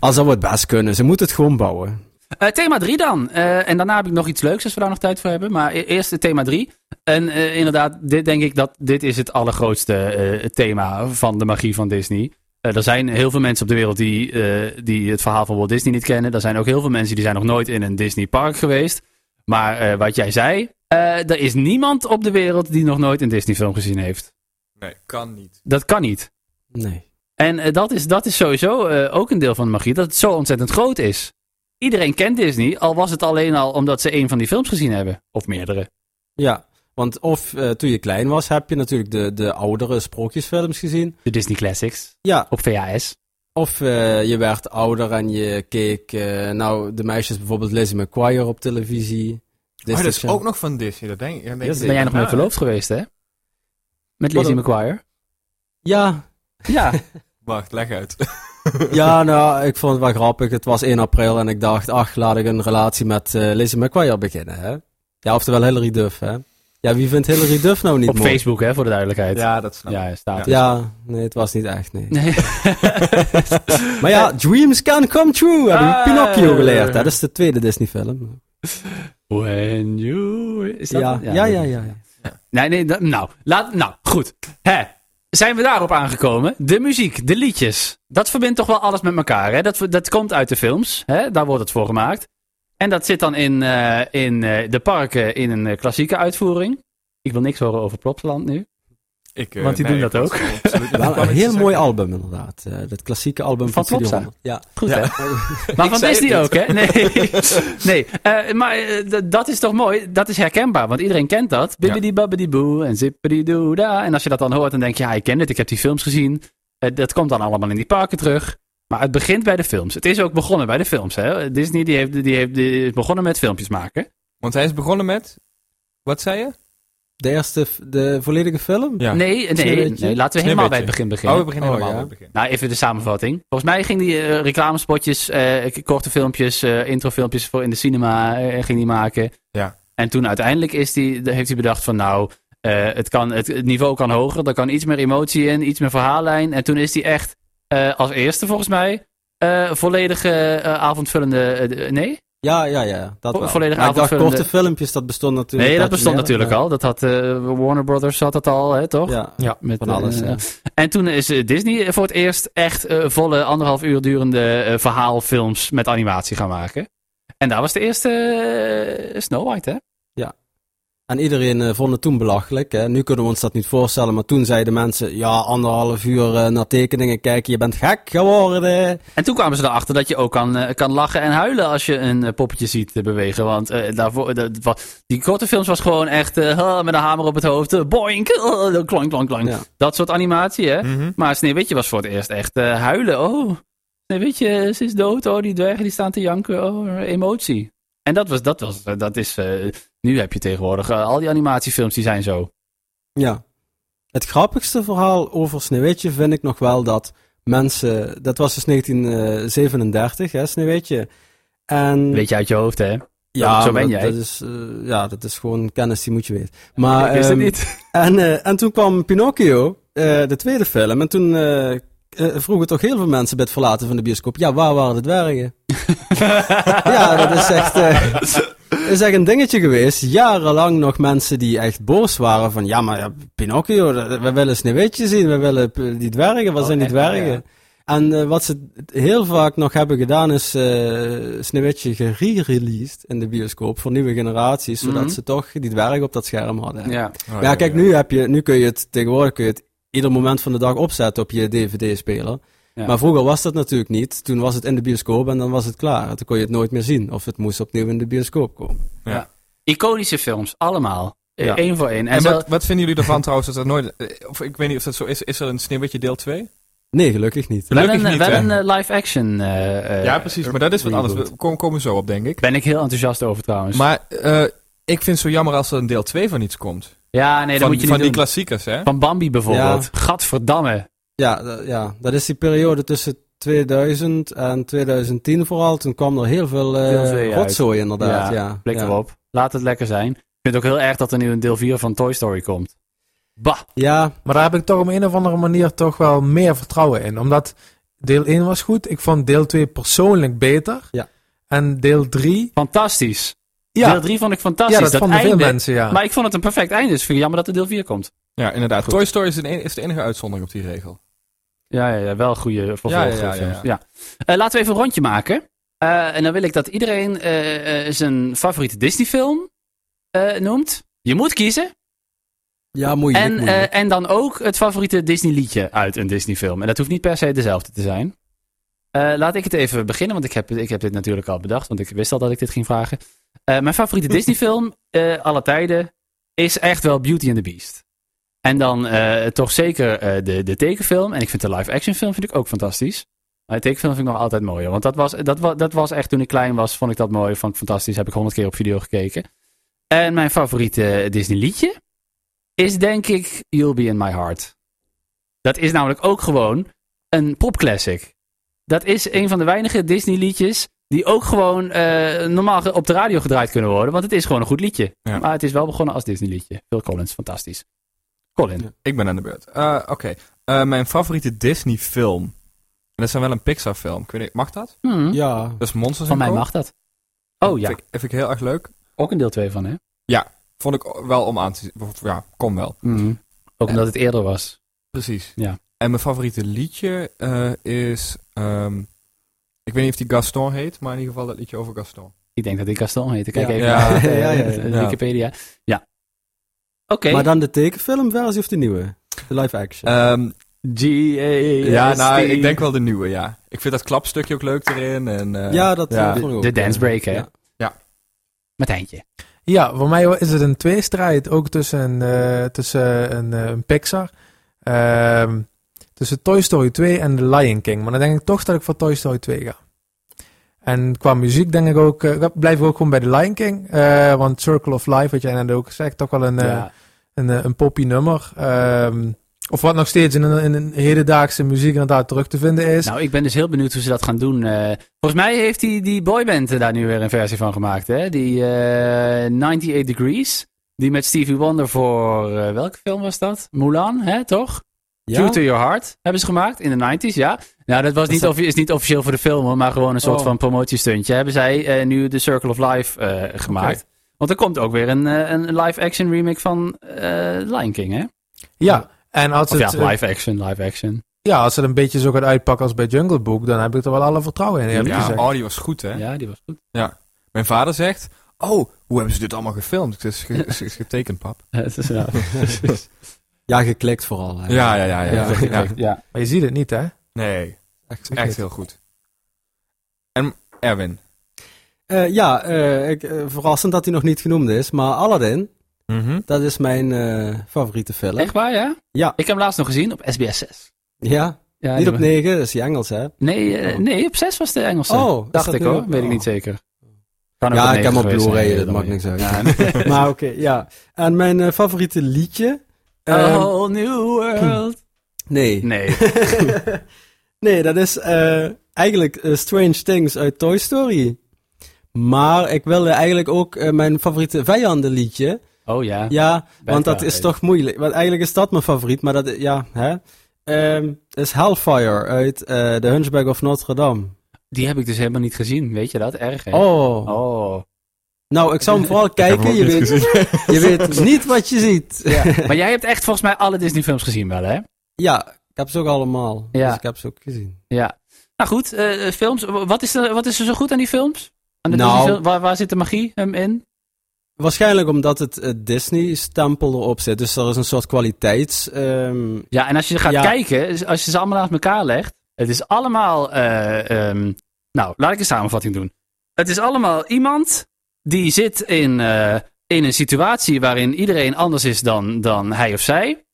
[SPEAKER 3] Als dat we het best kunnen. Ze moeten het gewoon bouwen.
[SPEAKER 2] Eh, thema 3 dan. Eh, en daarna heb ik nog iets leuks als we daar nog tijd voor hebben. Maar e- eerst het thema 3. En eh, inderdaad, dit denk ik dat dit is het allergrootste eh, thema van de magie van Disney. Eh, er zijn heel veel mensen op de wereld die, eh, die het verhaal van Walt Disney niet kennen. Er zijn ook heel veel mensen die zijn nog nooit in een Disney park geweest. Maar eh, wat jij zei, eh, er is niemand op de wereld die nog nooit een Disney film gezien heeft.
[SPEAKER 1] Nee, kan niet.
[SPEAKER 2] Dat kan niet.
[SPEAKER 3] Nee.
[SPEAKER 2] En eh, dat, is, dat is sowieso eh, ook een deel van de magie, dat het zo ontzettend groot is. Iedereen kent Disney, al was het alleen al omdat ze een van die films gezien hebben. Of meerdere.
[SPEAKER 3] Ja, want of eh, toen je klein was, heb je natuurlijk de, de oudere sprookjesfilms gezien.
[SPEAKER 2] De Disney Classics
[SPEAKER 3] Ja,
[SPEAKER 2] op VHS.
[SPEAKER 3] of eh, je werd ouder en je keek, eh, nou, de meisjes bijvoorbeeld Lizzie McGuire op televisie.
[SPEAKER 1] Oh,
[SPEAKER 2] dus
[SPEAKER 1] dat is
[SPEAKER 3] Disney
[SPEAKER 1] ook nog van Disney. Dat denk, ik- dat denk
[SPEAKER 3] Yes,
[SPEAKER 1] ik nou,
[SPEAKER 2] Ben jij nog
[SPEAKER 1] niet.
[SPEAKER 2] mee verloofd geweest, hè? Met Lizzie
[SPEAKER 3] Wat
[SPEAKER 2] McGuire.
[SPEAKER 3] Ja,
[SPEAKER 2] Ja.
[SPEAKER 1] Wacht, leg uit.
[SPEAKER 3] ja, nou, ik vond het wel grappig. Het was 1 april en ik dacht, ach, laat ik een relatie met eh Lizzie McGuire beginnen, hè. Ja, oftewel Hilary Duff, hè. Ja, wie vindt Hilary Duff nou niet
[SPEAKER 2] Op
[SPEAKER 3] mooi?
[SPEAKER 2] Facebook, hè, voor de duidelijkheid. Ja,
[SPEAKER 1] ja, dat snap ik.
[SPEAKER 2] staat er.
[SPEAKER 3] Ja, nee, het was niet echt, nee.
[SPEAKER 2] Nee.
[SPEAKER 3] Maar ja, dreams can come true, heb ik
[SPEAKER 2] Ah.
[SPEAKER 3] Pinocchio geleerd. hè. Dat is de tweede Disney-film.
[SPEAKER 2] When you... Is dat
[SPEAKER 3] Ja,
[SPEAKER 2] het?
[SPEAKER 3] ja, ja, ja.
[SPEAKER 2] dat-
[SPEAKER 3] ja,
[SPEAKER 2] Nee, nee, dat- nou, laat, nou, goed. Hè. zijn we daarop aangekomen. De muziek, de liedjes. Dat verbindt toch wel alles met elkaar. Hè? Dat, dat komt uit de films. Hè? Daar wordt het voor gemaakt. En dat zit dan in, eh, in eh, de parken in een eh, klassieke uitvoering. Ik wil niks horen over Plopsland nu.
[SPEAKER 1] Ik, eh,
[SPEAKER 2] Want die
[SPEAKER 1] nee,
[SPEAKER 2] doen dat
[SPEAKER 1] ik
[SPEAKER 2] ook.
[SPEAKER 1] was er absoluut niet
[SPEAKER 3] Wel
[SPEAKER 1] van.
[SPEAKER 3] een heel
[SPEAKER 1] Het is
[SPEAKER 3] mooi
[SPEAKER 1] ook-
[SPEAKER 3] album inderdaad. Eh, dat klassieke album
[SPEAKER 2] dus Van
[SPEAKER 3] van, Studio
[SPEAKER 2] Klopsa.
[SPEAKER 3] 100. Ja.
[SPEAKER 2] Goed,
[SPEAKER 3] Ja.
[SPEAKER 2] hè? Maar van
[SPEAKER 1] zei het
[SPEAKER 2] Disney ook, hè? Nee. nee. eh, maar eh, d- dat is toch mooi? Dat is herkenbaar, want iedereen kent dat. Bibbidi babbidi boe en zippidi doe da. En als je dat dan hoort, dan denk je, ja, ik ken dit, ik heb die films gezien. Eh, dat komt dan allemaal in die parken terug. Maar het begint bij de films. Het is ook begonnen bij de films, hè? Disney die heeft, die heeft, die is begonnen met filmpjes maken.
[SPEAKER 1] Want hij is begonnen met... Wat zei je?
[SPEAKER 3] De eerste, f- de volledige film?
[SPEAKER 1] Ja.
[SPEAKER 2] Nee, nee,
[SPEAKER 3] Sneeuwwitje.
[SPEAKER 2] nee, laten we helemaal bij het begin beginnen.
[SPEAKER 1] Oh, we beginnen
[SPEAKER 3] Oh,
[SPEAKER 1] helemaal
[SPEAKER 3] ja.
[SPEAKER 1] bij het begin.
[SPEAKER 2] Nou, even de samenvatting. Volgens mij ging die eh, reclamespotjes, eh, k- korte filmpjes, eh, introfilmpjes voor in de cinema eh, ging die maken.
[SPEAKER 1] Ja.
[SPEAKER 2] En toen uiteindelijk is die, de- heeft hij bedacht van nou, eh, het, kan, het, het niveau kan hoger. Er kan iets meer emotie in, iets meer verhaallijn. En toen is hij echt eh, als eerste volgens mij eh volledige eh, avondvullende... eh, de- nee?
[SPEAKER 3] Ja, ja, ja. Dat
[SPEAKER 2] Vo-
[SPEAKER 3] wel.
[SPEAKER 2] volledig
[SPEAKER 3] maar ik dacht,
[SPEAKER 2] aanvullende-
[SPEAKER 3] korte filmpjes, dat bestond natuurlijk.
[SPEAKER 2] Nee, dat
[SPEAKER 3] uit-
[SPEAKER 2] bestond
[SPEAKER 3] ja,
[SPEAKER 2] natuurlijk
[SPEAKER 3] ja.
[SPEAKER 2] al. Dat had eh, Warner Brothers had dat al, hè, toch?
[SPEAKER 3] Ja.
[SPEAKER 5] Ja,
[SPEAKER 2] Met,
[SPEAKER 3] van alles,
[SPEAKER 2] eh,
[SPEAKER 3] ja.
[SPEAKER 2] En toen is eh, Disney voor het eerst echt eh, volle anderhalf uur durende eh, verhaalfilms met animatie gaan maken. En daar was de eerste eh, Snow White, hè?
[SPEAKER 3] En iedereen eh, vond het toen belachelijk. Hè. Nu kunnen we ons dat niet voorstellen, maar toen zeiden mensen... Ja, anderhalf uur eh, naar tekeningen kijken, je bent gek geworden.
[SPEAKER 2] En toen kwamen ze erachter dat je ook kan, eh, kan lachen en huilen als je een eh, poppetje ziet eh, bewegen. Want eh, daarvoor, dat wa- die korte films was gewoon echt eh, ha, met een hamer op het hoofd. eh, boink, eh, klank, klank, klank.
[SPEAKER 3] Ja.
[SPEAKER 2] Dat soort animatie, hè?
[SPEAKER 1] Mhm.
[SPEAKER 2] Maar Sneeuwwitje was voor het eerst echt eh, huilen. Oh, Sneeuwwitje, ze is dood. Oh, die dwergen die staan te janken. Oh, emotie. En dat was, dat was, eh, dat is, eh, nu heb je tegenwoordig, eh, al die animatiefilms die zijn zo.
[SPEAKER 3] Ja. Het grappigste verhaal over Sneeuwwitje vind ik nog wel dat mensen... Dat was dus 1937, hè, Sneeuwwitje. En
[SPEAKER 2] Weet je uit je hoofd, hè?
[SPEAKER 3] ja,
[SPEAKER 2] zo ben
[SPEAKER 3] dat-
[SPEAKER 2] jij.
[SPEAKER 3] Dat is, eh, ja, dat is gewoon kennis die moet je weten. Maar,
[SPEAKER 2] Ik wist het
[SPEAKER 3] ehm,
[SPEAKER 2] niet.
[SPEAKER 3] En, eh, en toen kwam Pinocchio, eh, de tweede film. En toen eh, eh, vroegen toch heel veel mensen bij het verlaten van de bioscoop... Ja, waar waren de dwergen? ja, dat is echt, eh, is echt een dingetje geweest. Jarenlang nog mensen die echt boos waren van... Ja, maar ja, Pinocchio, dat- we willen Sneeuwwitje zien. We willen p- die dwergen. Waar
[SPEAKER 2] Oh,
[SPEAKER 3] zijn die
[SPEAKER 2] echt waar,
[SPEAKER 3] dwergen? En eh, wat ze heel vaak nog hebben gedaan is eh Sneeuwwitje gere-released in de bioscoop voor nieuwe generaties, zodat
[SPEAKER 2] Mhm.
[SPEAKER 3] ze toch die dwergen op dat scherm hadden.
[SPEAKER 2] Ja.
[SPEAKER 1] Oh,
[SPEAKER 3] Ja, kijk, nu, heb je, nu kun je het tegenwoordig kun je het ieder moment van de dag opzetten op je DVD-speler.
[SPEAKER 2] Ja.
[SPEAKER 3] Maar vroeger was dat natuurlijk niet. Toen was het in de bioscoop en dan was het klaar. Toen kon je het nooit meer zien. Of het moest opnieuw in de bioscoop komen.
[SPEAKER 2] Iconische films, allemaal. Eh,
[SPEAKER 3] Ja.
[SPEAKER 2] Eén voor één. En,
[SPEAKER 1] En
[SPEAKER 2] zo-
[SPEAKER 1] wat, wat vinden jullie ervan trouwens dat er nooit... eh, Of ik weet niet of dat zo is. Is er een Sneeuwwitje deel 2?
[SPEAKER 3] Nee, gelukkig niet.
[SPEAKER 2] wel
[SPEAKER 1] Gelukkig
[SPEAKER 2] een,
[SPEAKER 1] niet,
[SPEAKER 2] wel
[SPEAKER 1] hè?
[SPEAKER 2] een eh, live action. eh, eh,
[SPEAKER 1] ja, precies. Maar dat is wat
[SPEAKER 3] reboot.
[SPEAKER 1] anders. We komen, komen we zo op, denk ik.
[SPEAKER 2] Ben ik heel enthousiast over trouwens.
[SPEAKER 1] Maar eh, ik vind het zo jammer als er een deel 2 van iets komt.
[SPEAKER 2] ja, nee, dat
[SPEAKER 1] van
[SPEAKER 2] moet je
[SPEAKER 1] van
[SPEAKER 2] niet
[SPEAKER 1] die
[SPEAKER 2] doen.
[SPEAKER 1] klassiekers, hè?
[SPEAKER 2] Van Bambi bijvoorbeeld. Gadverdamme.
[SPEAKER 3] Ja, d- ja, dat is die periode tussen 2000 en 2010 vooral. Toen kwam er heel veel, eh,
[SPEAKER 2] Heel veel uit.
[SPEAKER 3] rotzooi inderdaad. Ja,
[SPEAKER 2] Blik
[SPEAKER 3] ja.
[SPEAKER 2] erop. Laat het lekker zijn. Ik vind het ook heel erg dat er nu een deel 4 van Toy Story komt. Bah.
[SPEAKER 3] Ja,
[SPEAKER 5] Maar daar heb ik toch op een of andere manier toch wel meer vertrouwen in. Omdat deel 1 was goed. Ik vond deel 2 persoonlijk beter.
[SPEAKER 3] Ja.
[SPEAKER 5] En deel 3...
[SPEAKER 2] Fantastisch.
[SPEAKER 5] Ja,
[SPEAKER 2] Deel 3 vond ik fantastisch.
[SPEAKER 5] ja dat, vonden veel
[SPEAKER 2] einde.
[SPEAKER 5] mensen, ja.
[SPEAKER 2] Maar ik vond het een perfect einde. Dus vind ik jammer dat er deel 4 komt.
[SPEAKER 1] Ja, inderdaad. Toy Story is, een, e, is de enige uitzondering op die regel.
[SPEAKER 2] Ja, ja, ja, wel goede vervolgfilms.
[SPEAKER 1] Ja, ja, ja, ja, ja.
[SPEAKER 2] Eh, laten we even een rondje maken. Eh, en dan wil ik dat iedereen eh, eh, zijn favoriete Disney-film eh, noemt. Je moet kiezen.
[SPEAKER 3] ja moeilijk.
[SPEAKER 2] En,
[SPEAKER 3] moeilijk.
[SPEAKER 2] eh, en dan ook het favoriete Disney-liedje uit een Disney-film. En dat hoeft niet per se dezelfde te zijn. Eh, laat ik het even beginnen, want ik heb, ik heb dit natuurlijk al bedacht. Want ik wist al dat ik dit ging vragen. Eh, mijn favoriete Disney-film eh alle tijden is echt wel Beauty and the Beast. En dan eh, toch zeker eh, de, de tekenfilm. En ik vind de live-action film vind ik ook fantastisch. Maar de tekenfilm vind ik nog altijd mooier. Want dat was, dat, was, dat was echt toen ik klein was, vond ik dat mooi. Vond ik fantastisch. Heb ik honderd keer op video gekeken. En mijn favoriete Disney-liedje is denk ik You'll Be In My Heart. Dat is namelijk ook gewoon een popclassic. Dat is een van de weinige Disney liedjes die ook gewoon eh, normaal ge- op de radio gedraaid kunnen worden. Want het is gewoon een goed liedje.
[SPEAKER 1] Ja.
[SPEAKER 2] Maar het is wel begonnen als Disney liedje. Phil Collins, fantastisch. Colin.
[SPEAKER 3] Ja.
[SPEAKER 1] Ik ben aan de beurt. Eh, Oké. Eh, mijn favoriete Disney-film. En dat zijn wel een Pixar-film. Ik weet niet, Mag dat?
[SPEAKER 2] Hmm,
[SPEAKER 3] ja,
[SPEAKER 1] Dat is Monsters
[SPEAKER 2] Van mij
[SPEAKER 1] Co.
[SPEAKER 2] mag dat. Oh ja,
[SPEAKER 1] Vind ik, vind ik heel erg leuk.
[SPEAKER 2] ook een deel 2 van hè?
[SPEAKER 1] Vond ik wel om aan te zien. Ja, kom wel.
[SPEAKER 2] Ook omdat Mhm. het eerder was.
[SPEAKER 1] Precies.
[SPEAKER 2] Ja.
[SPEAKER 1] En mijn favoriete liedje eh, is... ehm, ik weet niet of die Gaston heet, maar in ieder geval dat liedje over Gaston.
[SPEAKER 2] Ik denk dat ik Gaston heet. Ik Kijk
[SPEAKER 3] Ja.
[SPEAKER 2] even
[SPEAKER 1] Ja.
[SPEAKER 2] naar eh,
[SPEAKER 3] Ja, ja, ja.
[SPEAKER 2] eh, Wikipedia. Ja. Oké.
[SPEAKER 3] Maar dan de tekenfilmversie of de nieuwe? De live action.
[SPEAKER 1] Ehm,
[SPEAKER 2] G.A.S.T..
[SPEAKER 1] ja, nou, ik denk wel de nieuwe, ja. Ik vind dat klapstukje ook leuk erin. En, eh,
[SPEAKER 3] ja, dat
[SPEAKER 1] ja.
[SPEAKER 3] eh, vond ik ook.
[SPEAKER 2] De dance break, hè?
[SPEAKER 3] Ja.
[SPEAKER 1] Ja.
[SPEAKER 2] Martijntje.
[SPEAKER 5] Ja, voor mij is het een tweestrijd ook tussen, eh, tussen een, eh, een Pixar. Ehm, tussen Toy Story 2 en The Lion King. Maar dan denk ik toch dat ik voor Toy Story 2 ga. En qua muziek denk ik ook, eh, blijf ik ook gewoon bij The Lion King. Eh, want Circle of Life, wat jij net ook zegt, toch wel een, eh,
[SPEAKER 2] Ja.
[SPEAKER 5] een, eh, een poppy nummer. Ehm, of wat nog steeds in een, in een hedendaagse muziek inderdaad terug te vinden is.
[SPEAKER 2] Nou, ik ben dus heel benieuwd hoe ze dat gaan doen. eh. volgens mij heeft die, die boyband er daar nu weer een versie van gemaakt, hè? Die eh, 98 Degrees. Die met Stevie Wonder voor, eh, welke film was dat? Mulan, hè, toch?
[SPEAKER 3] Ja?
[SPEAKER 2] True to Your Heart hebben ze gemaakt in de 90s, ja. Nou, dat was niet,
[SPEAKER 3] dat-
[SPEAKER 2] offi- is niet officieel voor de film, hoor, maar gewoon een soort
[SPEAKER 3] Oh.
[SPEAKER 2] van promotiestuntje. Hebben zij eh, nu de Circle of Life eh, gemaakt. Want er komt ook weer een, eh, een live-action remake van eh, Lion King, hè?
[SPEAKER 5] ja, en als
[SPEAKER 2] Of
[SPEAKER 5] het, eh,
[SPEAKER 2] ja, live-action, live-action.
[SPEAKER 5] ja, als het een beetje zo gaat uitpakken als bij Jungle Book, dan heb ik er wel alle vertrouwen in. eerlijk
[SPEAKER 1] ja,
[SPEAKER 5] gezegd.
[SPEAKER 1] oh, die was goed, hè?
[SPEAKER 2] Ja, die was goed.
[SPEAKER 1] Mijn vader zegt... Oh, hoe hebben ze dit allemaal gefilmd? Het is, ge- is- is getekend, pap.
[SPEAKER 2] Het is, ja, precies.
[SPEAKER 3] ja, geklikt vooral. Hè.
[SPEAKER 1] Ja, ja, ja. ja,
[SPEAKER 3] Ja,
[SPEAKER 1] ja.
[SPEAKER 2] ja.
[SPEAKER 5] Maar je ziet het niet, hè?
[SPEAKER 1] Nee, het
[SPEAKER 3] Echt,
[SPEAKER 1] is echt heel goed. En Erwin.
[SPEAKER 3] Eh, ja, eh, ik, eh, verrassend dat hij nog niet genoemd is. Maar Aladdin,
[SPEAKER 2] Mhm.
[SPEAKER 3] dat is mijn eh, favoriete film.
[SPEAKER 2] Echt waar, ja?
[SPEAKER 3] Ja.
[SPEAKER 2] Ik heb hem laatst nog gezien op SBS 6.
[SPEAKER 3] Ja,
[SPEAKER 2] Ja,
[SPEAKER 3] niet
[SPEAKER 2] die
[SPEAKER 3] op
[SPEAKER 2] was-
[SPEAKER 3] 9, dat is die Engels, hè?
[SPEAKER 2] Nee, eh,
[SPEAKER 3] Oh.
[SPEAKER 2] nee, op 6 was de Engelse.
[SPEAKER 3] Oh, is
[SPEAKER 2] Dacht
[SPEAKER 3] dat
[SPEAKER 2] ik
[SPEAKER 3] nu
[SPEAKER 2] hoor,
[SPEAKER 3] ook?
[SPEAKER 2] weet ik
[SPEAKER 3] Oh.
[SPEAKER 2] niet zeker. Kan ook
[SPEAKER 3] Ja,
[SPEAKER 2] op
[SPEAKER 3] ik heb hem op
[SPEAKER 2] geweest zijn,
[SPEAKER 3] Blu-ray, dat
[SPEAKER 2] dan
[SPEAKER 3] maakt
[SPEAKER 2] weer.
[SPEAKER 3] niks uit.
[SPEAKER 2] Ja,
[SPEAKER 3] maar oké, ja. En mijn eh, favoriete liedje?
[SPEAKER 2] A
[SPEAKER 3] ehm,
[SPEAKER 2] whole new world.
[SPEAKER 3] nee.
[SPEAKER 2] Nee.
[SPEAKER 3] nee, dat is eh, eigenlijk eh, Strange Things uit Toy Story. Maar ik wilde eigenlijk ook eh, mijn favoriete vijandenliedje.
[SPEAKER 2] Oh ja.
[SPEAKER 3] Ja, want dat
[SPEAKER 2] wel,
[SPEAKER 3] is
[SPEAKER 2] hè.
[SPEAKER 3] toch moeilijk. Want eigenlijk is dat mijn favoriet, maar dat, ja, hè. Ehm, is Hellfire uit eh The Hunchback of Notre Dame.
[SPEAKER 2] Die heb ik dus helemaal niet gezien, weet je dat? Erg hè?
[SPEAKER 3] Oh.
[SPEAKER 2] Oh.
[SPEAKER 3] Nou, ik zou hem vooral
[SPEAKER 1] heb hem
[SPEAKER 3] kijken.
[SPEAKER 1] ook
[SPEAKER 3] Je
[SPEAKER 1] niet
[SPEAKER 3] weet, je weet niet wat je ziet.
[SPEAKER 2] Maar jij hebt echt volgens mij alle Disney films gezien wel, hè?
[SPEAKER 3] Ja, ik heb ze ook allemaal.
[SPEAKER 2] Ja.
[SPEAKER 3] Dus ik heb ze ook gezien.
[SPEAKER 2] Ja. Nou goed, eh, films. Wat is, er, wat is er zo goed aan die films? Aan de
[SPEAKER 3] Nou.
[SPEAKER 2] Disney film- waar, waar zit de magie hem in?
[SPEAKER 3] Waarschijnlijk omdat het eh, Disney-stempel erop zit. Dus er is een soort kwaliteits... ehm,
[SPEAKER 2] Ja, en als je gaat
[SPEAKER 3] Ja.
[SPEAKER 2] kijken, als je ze allemaal naast elkaar legt, het is allemaal. eh, ehm, nou, laat ik een samenvatting doen. Het is allemaal iemand die zit in, eh, in een situatie waarin iedereen anders is dan, dan hij of zij.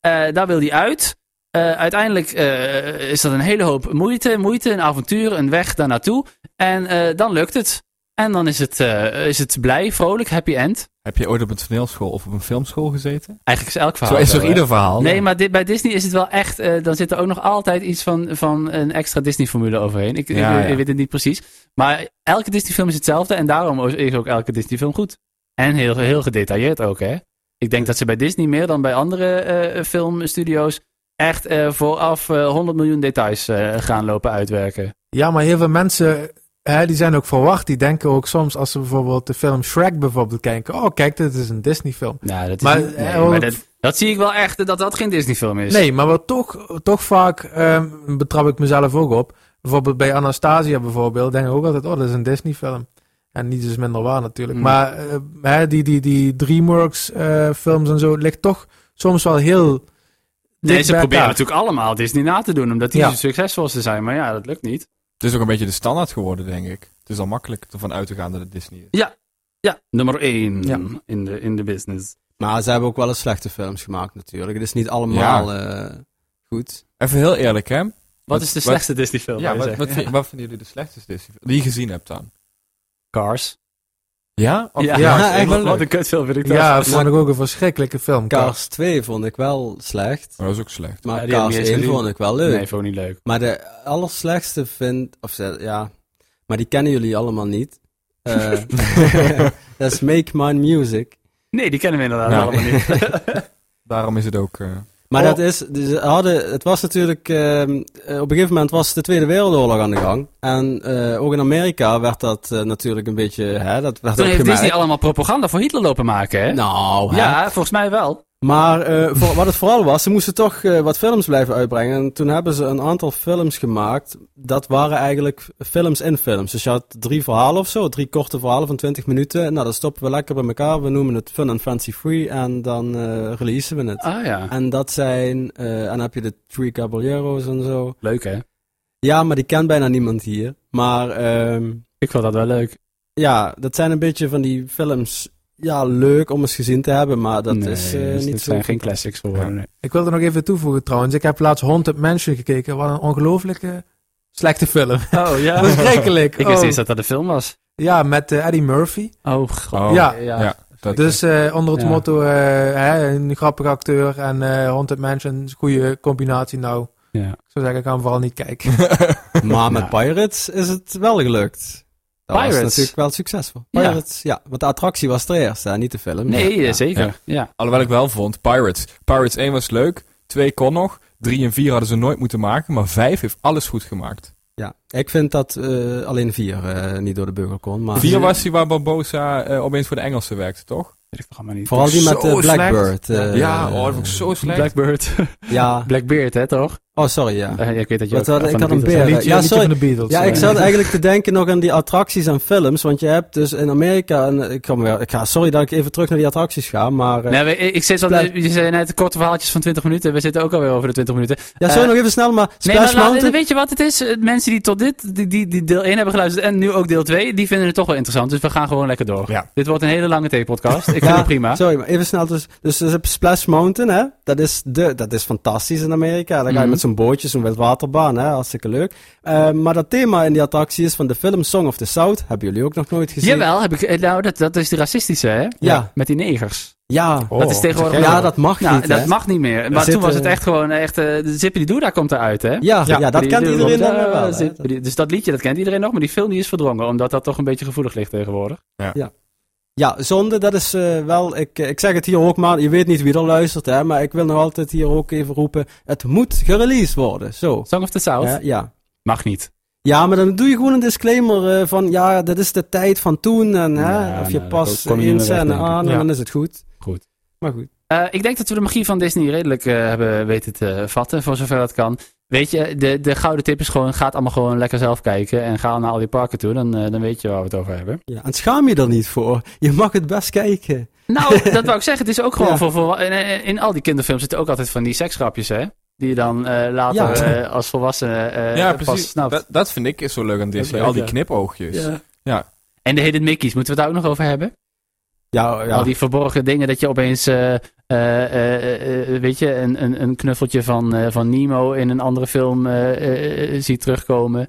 [SPEAKER 2] Eh, daar wil hij uit. Eh, uiteindelijk eh, is dat een hele hoop moeite, moeite, een avontuur, een weg daar naartoe. En eh, dan lukt het. En dan is het, eh, is het blij, vrolijk, happy end.
[SPEAKER 1] Heb je ooit op een toneelschool of op een filmschool gezeten?
[SPEAKER 2] Eigenlijk is elk
[SPEAKER 1] Zo
[SPEAKER 2] verhaal.
[SPEAKER 1] is
[SPEAKER 2] zo,
[SPEAKER 1] toch
[SPEAKER 2] hè?
[SPEAKER 1] ieder
[SPEAKER 5] Oh,
[SPEAKER 1] verhaal?
[SPEAKER 2] Nee, maar dit, bij Disney is het wel echt. eh, dan zit er ook nog altijd iets van, van een extra Disney-formule overheen. Ik, ik-
[SPEAKER 1] Ja,
[SPEAKER 2] ik,
[SPEAKER 1] ja.
[SPEAKER 2] weet het niet precies. Maar elke Disney-film is hetzelfde. En daarom is ook elke Disney-film goed. En heel, heel gedetailleerd ook, hè? Ik denk dat ze bij Disney meer dan bij andere eh, filmstudio's. echt eh, vooraf eh, 100 miljoen details eh, gaan lopen uitwerken.
[SPEAKER 5] Ja, maar heel veel mensen, hè, die zijn ook verwacht. Die denken ook soms, als ze bijvoorbeeld de film Shrek bijvoorbeeld kijken. Oh, kijk, dit is een Disney film.
[SPEAKER 2] Nou, dat is
[SPEAKER 5] Maar,
[SPEAKER 2] niet- nee,
[SPEAKER 5] eh, wat-
[SPEAKER 2] maar dat, dat zie ik wel echt, eh, dat dat geen Disney-film is.
[SPEAKER 5] Nee, maar wat toch, toch vaak ehm, betrap ik mezelf ook op. Bijvoorbeeld bij Anastasia bijvoorbeeld, denk ik ook altijd, oh, dat is een Disney film. En niet is minder waar natuurlijk.
[SPEAKER 2] Mm.
[SPEAKER 5] Maar eh, hè, die, die, die DreamWorks eh, films en zo, het ligt toch soms wel heel...
[SPEAKER 2] nee
[SPEAKER 5] dicht
[SPEAKER 2] ze proberen
[SPEAKER 5] bij elkaar.
[SPEAKER 2] natuurlijk allemaal Disney na te doen. Omdat die
[SPEAKER 5] Ja.
[SPEAKER 2] zo succesvol te zijn. Maar ja, dat lukt niet.
[SPEAKER 1] Het is ook een beetje de standaard geworden, denk ik. Het is al makkelijk ervan uit te gaan dat het Disney is.
[SPEAKER 2] Ja, nummer 1
[SPEAKER 5] Ja.
[SPEAKER 2] in, de, in de business.
[SPEAKER 3] Maar ze hebben ook wel eens slechte films gemaakt natuurlijk. Het is niet allemaal eh, goed.
[SPEAKER 1] Even heel eerlijk, hè?
[SPEAKER 2] Wat is de
[SPEAKER 1] wat-
[SPEAKER 2] slechtste Disney-film?
[SPEAKER 1] Ja,
[SPEAKER 2] wou je
[SPEAKER 1] wat,
[SPEAKER 2] zeggen?
[SPEAKER 1] wat, vind- wat vinden jullie de slechtste Disney die je gezien hebt dan?
[SPEAKER 2] Cars.
[SPEAKER 1] Ja? Of-
[SPEAKER 2] Ja,
[SPEAKER 5] ja,
[SPEAKER 2] echt
[SPEAKER 3] echt
[SPEAKER 2] wat,
[SPEAKER 3] leuk.
[SPEAKER 2] wat een kutfilm vind ik dat.
[SPEAKER 5] Ja, dat vond ik ook een verschrikkelijke film.
[SPEAKER 3] Cars 2 vond ik wel slecht.
[SPEAKER 1] Maar Oh, dat is ook slecht.
[SPEAKER 3] Maar
[SPEAKER 2] Ja, die heb ik
[SPEAKER 3] Cars
[SPEAKER 2] niet eens
[SPEAKER 3] 1
[SPEAKER 2] gezien.
[SPEAKER 3] vond ik wel leuk.
[SPEAKER 2] Nee, vond ik niet leuk.
[SPEAKER 3] Maar de allerslechtste vind... Of ze- ja... Maar die kennen jullie allemaal niet. Eh, Dat is Make My Music.
[SPEAKER 2] Nee, die kennen we inderdaad
[SPEAKER 1] Nou.
[SPEAKER 2] allemaal niet.
[SPEAKER 1] Daarom is het ook... eh,
[SPEAKER 3] Maar
[SPEAKER 5] Oh.
[SPEAKER 3] dat is, dus ze hadden, het was natuurlijk, ehm, eh, op een gegeven moment was de Tweede Wereldoorlog aan de gang. En eh, ook in Amerika werd dat eh, natuurlijk een beetje, hè, dat werd
[SPEAKER 2] Toen
[SPEAKER 3] ook
[SPEAKER 2] heeft
[SPEAKER 3] gemerkt.
[SPEAKER 2] Disney allemaal propaganda voor Hitler lopen maken, hè?
[SPEAKER 3] Nou, hè.
[SPEAKER 2] ja, volgens mij wel.
[SPEAKER 3] Maar eh, voor- wat het vooral was, ze moesten toch eh, wat films blijven uitbrengen. En toen hebben ze een aantal films gemaakt. Dat waren eigenlijk films in films. Dus je had drie verhalen of zo, drie korte verhalen van 20 minuten. Nou, dan stoppen we lekker bij elkaar. We noemen het Fun and Fancy Free en dan eh releasen we het.
[SPEAKER 2] Ah ja,
[SPEAKER 3] En dat zijn, eh, en dan heb je de Three Caballeros en zo.
[SPEAKER 2] leuk hè?
[SPEAKER 3] Ja, maar die kent bijna niemand hier. Maar ehm,
[SPEAKER 2] Ik vond dat wel leuk.
[SPEAKER 3] ja, dat zijn een beetje van die films. Ja, leuk om eens gezien te hebben, maar dat
[SPEAKER 2] Nee,
[SPEAKER 3] is eh,
[SPEAKER 2] dus
[SPEAKER 3] niet
[SPEAKER 2] dit
[SPEAKER 3] zo.
[SPEAKER 2] zijn geen classics geworden. nee.
[SPEAKER 5] Ik wilde nog even toevoegen trouwens. Ik heb laatst Haunted Mansion gekeken. Wat een ongelooflijke slechte film.
[SPEAKER 2] Oh ja.
[SPEAKER 5] Verschrikkelijk.
[SPEAKER 2] Ik
[SPEAKER 5] Oh.
[SPEAKER 2] wist eens dat dat een film was.
[SPEAKER 5] Ja, met eh, Eddie Murphy.
[SPEAKER 2] Oh god.
[SPEAKER 1] Oh.
[SPEAKER 5] Ja.
[SPEAKER 1] Ja, dat-
[SPEAKER 5] Dus eh, onder het
[SPEAKER 2] Ja.
[SPEAKER 5] motto, eh, hè, een grappige acteur en eh Haunted Mansion is een goede combinatie. Nou,
[SPEAKER 2] Ja.
[SPEAKER 5] ik zou zeggen, ik ga hem vooral niet kijken.
[SPEAKER 3] Maar met
[SPEAKER 2] Ja.
[SPEAKER 3] Pirates is het wel gelukt. Dat was
[SPEAKER 2] Pirates?
[SPEAKER 3] natuurlijk wel succesvol.
[SPEAKER 2] Ja.
[SPEAKER 3] Pirates, ja. Want de attractie was er eerst, hè, niet de film.
[SPEAKER 2] Nee,
[SPEAKER 3] Ja.
[SPEAKER 2] eh, zeker. Ja.
[SPEAKER 1] Alhoewel ik wel vond, Pirates. Pirates 1 was leuk, 2 kon nog, 3 en 4 hadden ze nooit moeten maken, maar 5 heeft alles goed gemaakt.
[SPEAKER 3] Ja. Ik vind dat eh, alleen vier eh, niet door de burger kon.
[SPEAKER 2] Ah.
[SPEAKER 3] Maar
[SPEAKER 1] 4 was die waar Barbosa eh, opeens voor de Engelsen werkte, toch?
[SPEAKER 2] Weet ik nog allemaal niet.
[SPEAKER 3] Vooral die met eh,
[SPEAKER 1] Zo slecht.
[SPEAKER 3] Blackbird. eh,
[SPEAKER 1] ja, oh, dat vond ik zo slecht.
[SPEAKER 2] Blackbird.
[SPEAKER 3] Ja.
[SPEAKER 2] Blackbeard, hè, toch?
[SPEAKER 3] Oh, sorry, ja.
[SPEAKER 2] Eh, ik weet dat je
[SPEAKER 3] Wat
[SPEAKER 2] ook,
[SPEAKER 3] had-
[SPEAKER 2] eh,
[SPEAKER 3] ik
[SPEAKER 2] van
[SPEAKER 3] had
[SPEAKER 2] de Beatles
[SPEAKER 3] een beer.
[SPEAKER 2] bent.
[SPEAKER 5] Een liedje,
[SPEAKER 3] ja,
[SPEAKER 5] een liedje
[SPEAKER 3] sorry.
[SPEAKER 5] van de Beatles.
[SPEAKER 3] Ja, ik
[SPEAKER 5] Eh,
[SPEAKER 3] zat eigenlijk te denken nog aan die attracties en films. Want je hebt dus in Amerika... En ik kom weer, ik ga, sorry dat ik even terug naar die attracties ga, maar... eh,
[SPEAKER 2] Nee, we- ik, ik zit al,
[SPEAKER 3] Black-
[SPEAKER 2] je zei net korte verhaaltjes van 20 minuten. We zitten ook alweer over de 20 minuten.
[SPEAKER 3] ja, sorry,
[SPEAKER 2] eh,
[SPEAKER 3] nog even snel, maar
[SPEAKER 2] Nee,
[SPEAKER 3] Splash
[SPEAKER 2] maar laat-
[SPEAKER 3] Mountain...
[SPEAKER 2] weet je wat het is? Eh, Mensen die tot dit, die, die, die deel 1 hebben geluisterd en nu ook deel 2, die vinden het toch wel interessant. Dus we gaan gewoon lekker door.
[SPEAKER 1] Ja.
[SPEAKER 2] Dit wordt een hele lange theepodcast. Ik vind
[SPEAKER 3] Ja,
[SPEAKER 2] het prima.
[SPEAKER 3] Sorry, maar even snel. Dus, dus je hebt Splash Mountain, hè? Dat is, de, dat is fantastisch in Amerika. Dan ga je
[SPEAKER 2] Mhm.
[SPEAKER 3] met zo'n bootje, zo'n wetwaterbaan, hè? Hartstikke leuk. Eh, maar dat thema in die attractie is van de film Song of the South. Hebben jullie ook nog nooit gezien?
[SPEAKER 2] Jawel, heb ik, eh, nou, dat, dat is de racistische, hè?
[SPEAKER 3] Ja.
[SPEAKER 2] Met die negers.
[SPEAKER 3] Ja.
[SPEAKER 5] Oh,
[SPEAKER 2] dat is tegenwoordig...
[SPEAKER 5] zeg jij
[SPEAKER 3] ja,
[SPEAKER 5] dat.
[SPEAKER 3] dat mag
[SPEAKER 2] Nou,
[SPEAKER 3] niet,
[SPEAKER 2] dat
[SPEAKER 3] hè?
[SPEAKER 2] mag niet meer. Maar
[SPEAKER 3] zit,
[SPEAKER 2] toen was
[SPEAKER 3] eh,
[SPEAKER 2] het echt gewoon echt... eh, de Zippity Doodah komt eruit, hè?
[SPEAKER 3] Ja, ja, dat kent
[SPEAKER 2] Zippity
[SPEAKER 3] iedereen dan
[SPEAKER 2] Doodah,
[SPEAKER 3] wel. hè?
[SPEAKER 2] Zippity- Dus dat liedje, dat kent iedereen nog. Maar die film die is verdrongen, omdat dat toch een beetje gevoelig ligt tegenwoordig.
[SPEAKER 3] Ja, zonde, dat is eh, wel... Ik, eh, ik zeg het hier ook, maar je weet niet wie er luistert, hè? Maar ik wil nog altijd hier ook even roepen... Het moet gereleased worden, zo.
[SPEAKER 2] Song of the South.
[SPEAKER 3] Hè, ja.
[SPEAKER 2] Mag niet.
[SPEAKER 3] Ja, maar dan doe je gewoon een disclaimer eh, van ja, dat is de tijd van toen en hè,
[SPEAKER 2] Ja,
[SPEAKER 3] of je
[SPEAKER 2] nou,
[SPEAKER 3] pas
[SPEAKER 2] daar kom je
[SPEAKER 3] één
[SPEAKER 2] niet meer weg,
[SPEAKER 3] scène
[SPEAKER 2] denk ik.
[SPEAKER 3] aan en ah, nou,
[SPEAKER 5] Ja.
[SPEAKER 3] dan is het goed.
[SPEAKER 2] Goed.
[SPEAKER 3] Maar goed.
[SPEAKER 2] Eh, ik denk dat we de magie van Disney redelijk eh, hebben weten te vatten, voor zover dat kan. Weet je, de, de gouden tip is gewoon, ga het allemaal gewoon lekker zelf kijken. En ga naar al die parken toe, dan, eh, dan weet je waar we het over hebben.
[SPEAKER 3] Ja, en schaam je er niet voor. Je mag het best kijken.
[SPEAKER 2] Nou, dat wou ik zeggen, het is ook gewoon
[SPEAKER 3] Ja.
[SPEAKER 2] voor... voor in, in- in al die kinderfilms zitten ook altijd van die seksgrapjes, hè? Die je dan eh, later
[SPEAKER 3] Ja.
[SPEAKER 2] eh, als volwassene eh,
[SPEAKER 1] ja,
[SPEAKER 2] pas
[SPEAKER 1] precies.
[SPEAKER 2] snapt.
[SPEAKER 1] Dat, dat vind ik is zo leuk aan Disney.
[SPEAKER 2] leuk,
[SPEAKER 1] Al die
[SPEAKER 2] ja.
[SPEAKER 1] knipoogjes.
[SPEAKER 2] En de Hidden Mickeys, moeten we het daar ook nog over hebben?
[SPEAKER 3] Ja, ja.
[SPEAKER 2] Al die verborgen dingen dat je opeens, eh, eh, eh, eh, weet je, een, een, een knuffeltje van, eh, van Nemo in een andere film eh, eh, eh, ziet terugkomen.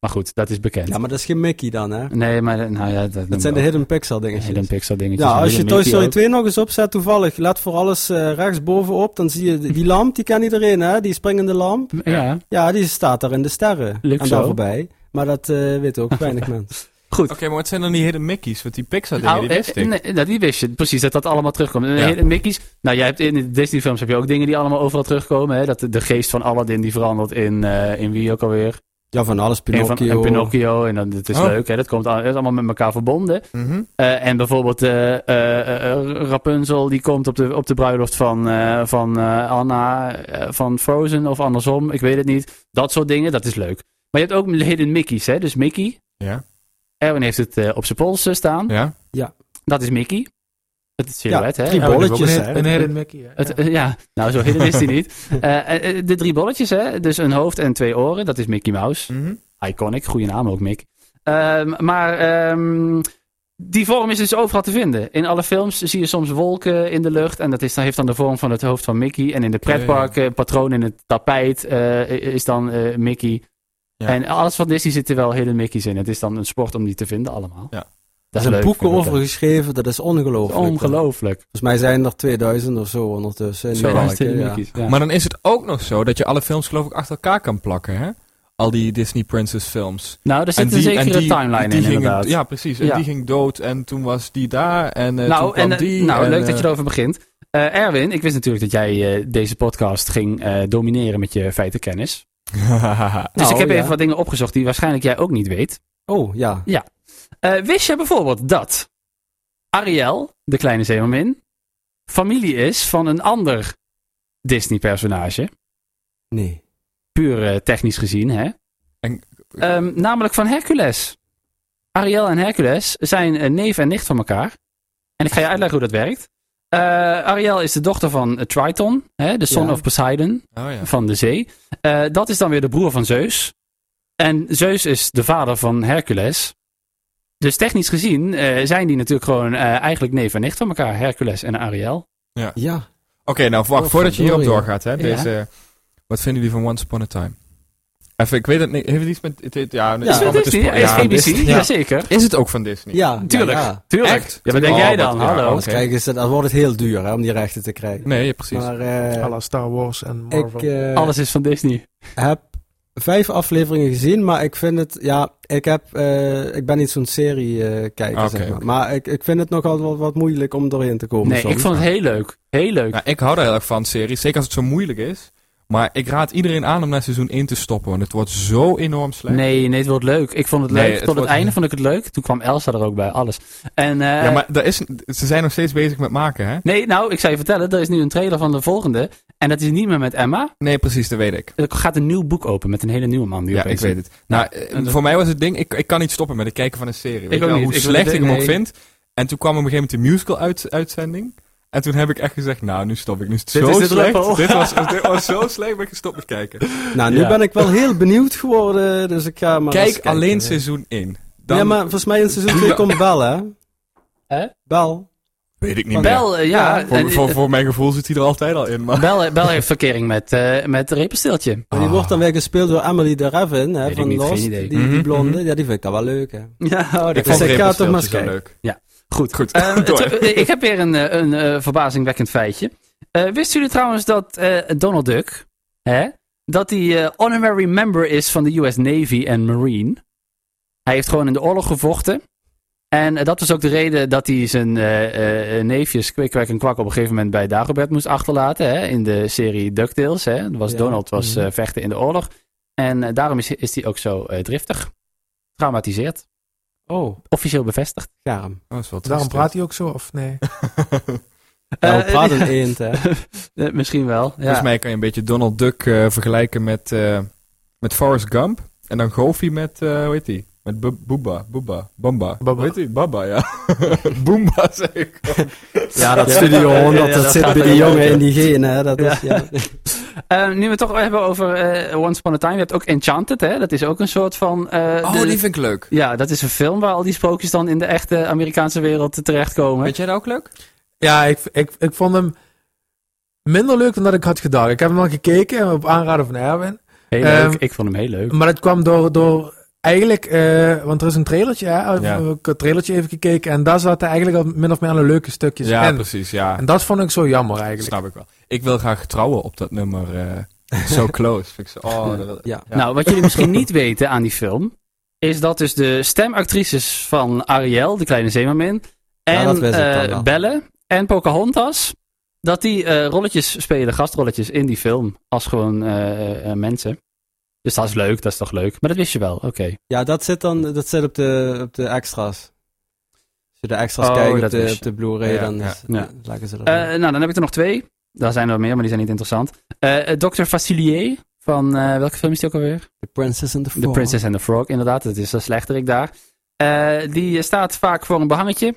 [SPEAKER 2] Maar goed, dat is bekend.
[SPEAKER 3] ja, maar dat is geen Mickey dan, hè?
[SPEAKER 2] Nee, maar nou ja, dat,
[SPEAKER 3] Dat zijn de hidden pixel dingetjes.
[SPEAKER 2] Hidden Pixar dingetjes.
[SPEAKER 3] Ja,
[SPEAKER 2] en
[SPEAKER 3] als je
[SPEAKER 2] Hidden
[SPEAKER 3] Toy Story
[SPEAKER 2] Mickey
[SPEAKER 3] 2 nog eens opzet, toevallig, let voor alles eh, rechtsbovenop, dan zie je die, die lamp, die kent iedereen, hè? Die springende lamp.
[SPEAKER 2] ook. Ja,
[SPEAKER 3] Ja, die staat daar in de sterren.
[SPEAKER 2] Leuk
[SPEAKER 3] en daar
[SPEAKER 2] zo.
[SPEAKER 3] voorbij. Maar dat eh weten ook weinig mensen.
[SPEAKER 1] Oké, maar wat zijn dan die hidden Mickeys? Want die Pixar dingen,
[SPEAKER 2] Nou,
[SPEAKER 1] die wist
[SPEAKER 2] eh,
[SPEAKER 1] ik.
[SPEAKER 2] nee, nou, die wist je. Precies, dat dat allemaal terugkomt. En
[SPEAKER 1] Ja.
[SPEAKER 2] Hidden Mickey's. Nou, jij hebt in de Disney films heb je ook dingen die allemaal overal terugkomen. Hè? Dat de, de geest van Aladdin die verandert in, eh, in wie ook alweer.
[SPEAKER 3] Ja, van alles,
[SPEAKER 2] Een van-
[SPEAKER 3] Pinocchio.
[SPEAKER 2] en Pinocchio. En dat, dat is
[SPEAKER 1] Oh.
[SPEAKER 2] leuk, hè? Dat komt al- dat is allemaal met elkaar verbonden.
[SPEAKER 1] Mhm.
[SPEAKER 2] Eh, en bijvoorbeeld eh, eh, eh, Rapunzel, die komt op de, op de bruiloft van, eh, van eh, Anna eh, van Frozen of andersom, ik weet het niet. Dat soort dingen, dat is leuk. Maar je hebt ook Hidden Mickey's, hè? dus Mickey.
[SPEAKER 1] Ja.
[SPEAKER 2] Erwin heeft het eh, op zijn pols eh, staan.
[SPEAKER 1] Ja.
[SPEAKER 2] Dat is Mickey. Dat is
[SPEAKER 3] Ja,
[SPEAKER 2] silhouet, hè?
[SPEAKER 3] drie
[SPEAKER 5] Ja, we hebben ook
[SPEAKER 3] bolletjes,
[SPEAKER 5] een-
[SPEAKER 3] hè?
[SPEAKER 5] Een Hidden Mickey. hè.
[SPEAKER 2] Het, eh, ja, nou zo hidden is die niet. Eh, eh, eh, de drie bolletjes, hè? dus een hoofd en twee oren, dat is Mickey Mouse.
[SPEAKER 1] Mhm.
[SPEAKER 2] Iconic, goede naam ook, Mick. Ehm, maar ehm, die vorm is dus overal te vinden. In alle films zie je soms wolken in de lucht. En dat is, dan heeft dan de vorm van het hoofd van Mickey. En in de pretparken, patroon in het tapijt eh, is dan eh, Mickey.
[SPEAKER 1] Ja.
[SPEAKER 2] En alles van Disney zit er wel hele Mickey's in. Het is dan een sport om die te vinden allemaal.
[SPEAKER 1] Ja.
[SPEAKER 3] Er
[SPEAKER 2] Dat is
[SPEAKER 3] zijn
[SPEAKER 2] leuk.
[SPEAKER 3] boeken
[SPEAKER 2] vind ik
[SPEAKER 3] over
[SPEAKER 2] ook.
[SPEAKER 3] geschreven, dat is
[SPEAKER 2] Dat is
[SPEAKER 3] ongelooflijk.
[SPEAKER 2] Ongelooflijk.
[SPEAKER 3] Volgens mij zijn er 2000 of zo ondertussen. in die
[SPEAKER 1] Zo,
[SPEAKER 3] parken,
[SPEAKER 2] Hele
[SPEAKER 3] ja.
[SPEAKER 2] Mickey's, ja.
[SPEAKER 1] Maar dan is het ook nog zo dat je alle films geloof ik achter elkaar kan plakken, hè? Al die Disney Princess films.
[SPEAKER 2] nou, er zit een zekere timeline in
[SPEAKER 1] ging,
[SPEAKER 2] inderdaad.
[SPEAKER 1] Ja, precies. En
[SPEAKER 2] Ja.
[SPEAKER 1] die ging dood en toen was die daar en eh, toen
[SPEAKER 2] nou,
[SPEAKER 1] kwam
[SPEAKER 2] en, eh,
[SPEAKER 1] die.
[SPEAKER 2] nou
[SPEAKER 1] en,
[SPEAKER 2] leuk
[SPEAKER 1] eh,
[SPEAKER 2] dat je erover begint. Eh, Erwin, ik wist natuurlijk dat jij eh, deze podcast ging eh, domineren met je feitenkennis.
[SPEAKER 1] eh,
[SPEAKER 2] Dus
[SPEAKER 3] Nou,
[SPEAKER 2] ik heb
[SPEAKER 3] ja.
[SPEAKER 2] even wat dingen opgezocht die waarschijnlijk jij ook niet weet.
[SPEAKER 3] Oh, ja.
[SPEAKER 2] Eh, wist je bijvoorbeeld dat Ariel, de kleine zeemermin, familie is van een ander Disney-personage.
[SPEAKER 3] Nee.
[SPEAKER 2] Puur eh, technisch gezien, hè?
[SPEAKER 1] En-
[SPEAKER 2] Ehm, namelijk van Hercules. Ariel en Hercules zijn eh, neef en nicht van elkaar. En ik ga je uitleggen hoe dat werkt. Eh, Ariel is de dochter van eh, Triton, hè, de son
[SPEAKER 3] Ja.
[SPEAKER 2] of Poseidon
[SPEAKER 1] Oh ja.
[SPEAKER 2] van de zee. Eh, dat is dan weer de broer van Zeus. En Zeus is de vader van Hercules. Dus technisch gezien eh, zijn die natuurlijk gewoon eh, eigenlijk neef en nicht van elkaar, Hercules en Ariel.
[SPEAKER 3] Ja.
[SPEAKER 1] Oké, nou wacht,
[SPEAKER 3] Oh,
[SPEAKER 1] voordat je hierop
[SPEAKER 3] verdorie.
[SPEAKER 1] doorgaat, hè, deze... Wat vinden jullie van Once Upon a Time? Even, ik weet het niet. Heeft het iets met... Het, het- ja, het
[SPEAKER 3] Ja,
[SPEAKER 2] Is
[SPEAKER 1] allemaal
[SPEAKER 2] het
[SPEAKER 1] te
[SPEAKER 2] Disney?
[SPEAKER 1] spo-
[SPEAKER 2] Is
[SPEAKER 1] ja,
[SPEAKER 2] het ABC?
[SPEAKER 1] Disney.
[SPEAKER 2] Jazeker.
[SPEAKER 1] Is het ook van Disney?
[SPEAKER 3] Ja.
[SPEAKER 2] Tuurlijk.
[SPEAKER 3] Ja, ja.
[SPEAKER 2] Tuurlijk.
[SPEAKER 1] Echt?
[SPEAKER 2] Ja, wat denk
[SPEAKER 1] Oh,
[SPEAKER 2] jij
[SPEAKER 1] wat-
[SPEAKER 2] dan?
[SPEAKER 1] ja,
[SPEAKER 2] Hallo.
[SPEAKER 1] Oké.
[SPEAKER 3] Krijgen ze, dat wordt het heel duur hè, om die rechten te krijgen.
[SPEAKER 1] Nee, ja, precies.
[SPEAKER 3] Maar eh,
[SPEAKER 5] à la Star Wars en Marvel.
[SPEAKER 3] ik eh,
[SPEAKER 2] Alles is van Disney.
[SPEAKER 3] heb vijf afleveringen gezien, maar ik vind het, ja, ik, heb, eh, ik ben niet zo'n serie eh kijker,
[SPEAKER 1] Oké,
[SPEAKER 3] zeg maar.
[SPEAKER 1] oké.
[SPEAKER 3] Maar ik, ik vind het nogal wat, wat moeilijk om doorheen te komen
[SPEAKER 2] Nee,
[SPEAKER 3] soms.
[SPEAKER 2] ik vond het heel leuk. Heel leuk.
[SPEAKER 1] Nou, ik hou er heel erg van, series. Zeker als het zo moeilijk is. Maar ik raad iedereen aan om naar seizoen 1 te stoppen. Want het wordt zo enorm slecht.
[SPEAKER 2] Nee, nee, het wordt leuk. Ik vond het
[SPEAKER 1] Nee,
[SPEAKER 2] leuk.
[SPEAKER 1] het
[SPEAKER 2] Tot het
[SPEAKER 1] wordt-
[SPEAKER 2] einde vond ik het leuk. Toen kwam Elsa er ook bij, alles. En, eh,
[SPEAKER 1] Ja, maar daar is, ze zijn nog steeds bezig met maken, hè?
[SPEAKER 2] Nee, nou, ik zou je vertellen, er is nu een trailer van de volgende. En dat is niet meer met Emma.
[SPEAKER 1] Nee, precies, dat weet ik.
[SPEAKER 2] Er gaat een nieuw boek open met een hele nieuwe man. Die
[SPEAKER 1] Ja, ik
[SPEAKER 2] opeens-
[SPEAKER 1] weet het. Nou, eh,
[SPEAKER 2] en dat-
[SPEAKER 1] voor mij was het ding, ik, ik kan niet stoppen met het kijken van een serie. Weet
[SPEAKER 2] ook
[SPEAKER 1] je wel,
[SPEAKER 2] niet.
[SPEAKER 1] Hoe
[SPEAKER 2] Ik wil
[SPEAKER 1] slecht
[SPEAKER 2] het-
[SPEAKER 1] ik hem ook
[SPEAKER 2] nee.
[SPEAKER 1] vind. En toen kwam op een gegeven moment de musical-uitzending. en toen heb ik echt gezegd, nou, nu stop ik. Nu is het
[SPEAKER 2] Dit
[SPEAKER 1] zo
[SPEAKER 2] is de
[SPEAKER 1] slecht.
[SPEAKER 2] druppel.
[SPEAKER 1] Dit was, dit was zo slecht, ben ik gestopt met kijken.
[SPEAKER 3] Nou, nu
[SPEAKER 2] Ja.
[SPEAKER 3] ben ik wel heel benieuwd geworden, dus ik ga maar eens
[SPEAKER 1] Kijk
[SPEAKER 3] kijken.
[SPEAKER 1] alleen seizoen 1. Dan
[SPEAKER 3] Ja, maar volgens mij in seizoen 2 komt Bel, hè?
[SPEAKER 2] Hè?
[SPEAKER 3] Bel.
[SPEAKER 1] weet ik niet meer.
[SPEAKER 2] Bel, eh, ja.
[SPEAKER 3] Ja,
[SPEAKER 1] Voor,
[SPEAKER 2] en- eh,
[SPEAKER 1] voor, voor mijn gevoel zit hij er altijd al in. Maar...
[SPEAKER 2] Bel, Bel heeft verkering met, eh met Repenstiltje.
[SPEAKER 3] Maar Die wordt dan weer gespeeld door Emily de Raven, hè,
[SPEAKER 2] Weet ik
[SPEAKER 3] van
[SPEAKER 2] niet, geen
[SPEAKER 3] Lost.
[SPEAKER 2] idee.
[SPEAKER 3] Die, die
[SPEAKER 1] Mhm,
[SPEAKER 3] blonde,
[SPEAKER 1] mhm.
[SPEAKER 3] ja, die vind ik al wel leuk, hè.
[SPEAKER 2] Ja, dat
[SPEAKER 1] Ik
[SPEAKER 3] Dus
[SPEAKER 1] vond
[SPEAKER 3] ik ga het toch maar
[SPEAKER 1] Rebel
[SPEAKER 3] eens
[SPEAKER 1] zo
[SPEAKER 3] kijken.
[SPEAKER 1] leuk.
[SPEAKER 2] Goed.
[SPEAKER 1] Goed.
[SPEAKER 2] Eh,
[SPEAKER 1] Door.
[SPEAKER 2] het- eh, ik heb weer een, eh, een eh, verbazingwekkend feitje. Eh, wisten jullie trouwens dat eh, Donald Duck, hè, dat hij eh, honorary member is van de US Navy en Marine? Hij heeft gewoon in de oorlog gevochten. En eh, dat was ook de reden dat hij zijn eh, eh, eh, neefjes Kwik, Kwek en Kwak op een gegeven moment bij Dagobert moest achterlaten. Hè, in de serie DuckTales. Hè. Dat Was
[SPEAKER 3] Ja.
[SPEAKER 2] Donald was
[SPEAKER 5] Mhm.
[SPEAKER 2] eh, vechten in de oorlog. En eh, daarom is, is hij ook zo eh, driftig. Traumatiseerd.
[SPEAKER 3] Oh,
[SPEAKER 2] Officieel bevestigd.
[SPEAKER 3] Garm.
[SPEAKER 1] Oh, is wel triest,
[SPEAKER 5] Daarom praat hij ook zo, of nee?
[SPEAKER 3] Ja, Nou, we
[SPEAKER 2] Eh,
[SPEAKER 3] praten eend, hè.
[SPEAKER 2] Eh, misschien wel. Ja.
[SPEAKER 1] Volgens mij kan je een beetje Donald Duck eh, vergelijken met, eh, met Forrest Gump. En dan Goofy met, eh hoe heet die? Met Bu- Booba, Booba, Bamba.
[SPEAKER 5] Baba.
[SPEAKER 1] Hoe heet die? Baba, ja. Boomba, zeg ik.
[SPEAKER 3] Ja, dat
[SPEAKER 2] Ja,
[SPEAKER 3] Studio
[SPEAKER 2] ja,
[SPEAKER 3] 100,
[SPEAKER 2] ja,
[SPEAKER 3] dat,
[SPEAKER 2] dat
[SPEAKER 3] zit
[SPEAKER 2] gaat
[SPEAKER 3] bij
[SPEAKER 2] er
[SPEAKER 3] die
[SPEAKER 2] wel
[SPEAKER 3] jongen
[SPEAKER 2] in.
[SPEAKER 3] in die genen, hè. Dat is, ja.
[SPEAKER 2] Eh, nu we het toch hebben over eh, Once Upon a Time. Je hebt ook Enchanted, hè? Dat is ook een soort van... eh,
[SPEAKER 3] Oh,
[SPEAKER 2] de-
[SPEAKER 1] Oh, vind ik leuk.
[SPEAKER 2] Ja, dat is een film waar al die sprookjes dan in de echte Amerikaanse wereld terechtkomen.
[SPEAKER 1] Vind jij dat ook leuk?
[SPEAKER 5] Ja, ik, ik, ik vond hem minder leuk dan dat ik had gedacht. Ik heb hem al gekeken op aanraden van Erwin.
[SPEAKER 2] Heel
[SPEAKER 5] Ehm,
[SPEAKER 2] leuk. Ik vond hem heel leuk.
[SPEAKER 5] Maar dat kwam door, door eigenlijk, eh, want er is een trailertje, hè? Ik
[SPEAKER 1] Ja.
[SPEAKER 5] heb ook het trailertje even gekeken en daar zaten eigenlijk al min of meer alle leuke stukjes
[SPEAKER 1] Ja,
[SPEAKER 5] in.
[SPEAKER 1] precies, ja.
[SPEAKER 5] En dat vond ik zo jammer eigenlijk.
[SPEAKER 1] Snap ik wel. Ik wil graag trouwen op dat nummer. eh so close. Vind ik zo, oh, dat wil-
[SPEAKER 3] Ja.
[SPEAKER 1] ja.
[SPEAKER 2] Nou, wat jullie misschien niet weten aan die film... is dat dus de stemactrices van Ariel, de kleine zeemermin...
[SPEAKER 3] Ja,
[SPEAKER 2] en
[SPEAKER 3] dat wist ik dan
[SPEAKER 2] eh,
[SPEAKER 3] wel.
[SPEAKER 2] Belle en Pocahontas... dat die eh, rolletjes spelen, gastrolletjes in die film... als gewoon eh, eh, mensen. Dus dat is leuk, dat is toch leuk. Maar dat wist je wel, oké.
[SPEAKER 3] ja, dat zit dan, dat zit op de, op de extra's. Als je de extra's
[SPEAKER 2] Oh,
[SPEAKER 3] kijkt
[SPEAKER 2] dat
[SPEAKER 3] op de,
[SPEAKER 2] is-
[SPEAKER 3] op de Blu-ray,
[SPEAKER 1] Ja,
[SPEAKER 3] dan
[SPEAKER 1] ja,
[SPEAKER 3] is-
[SPEAKER 2] ja.
[SPEAKER 3] laten ze dat
[SPEAKER 2] Eh,
[SPEAKER 3] in.
[SPEAKER 2] nou, dan heb ik er nog twee. Daar zijn er meer, maar die zijn niet interessant. Eh Dr. Facilier van eh, welke film is die ook alweer?
[SPEAKER 3] The Princess and the Frog.
[SPEAKER 2] The Princess and the Frog, inderdaad. Dat is de slechterik daar. Eh, die staat vaak voor een behangetje.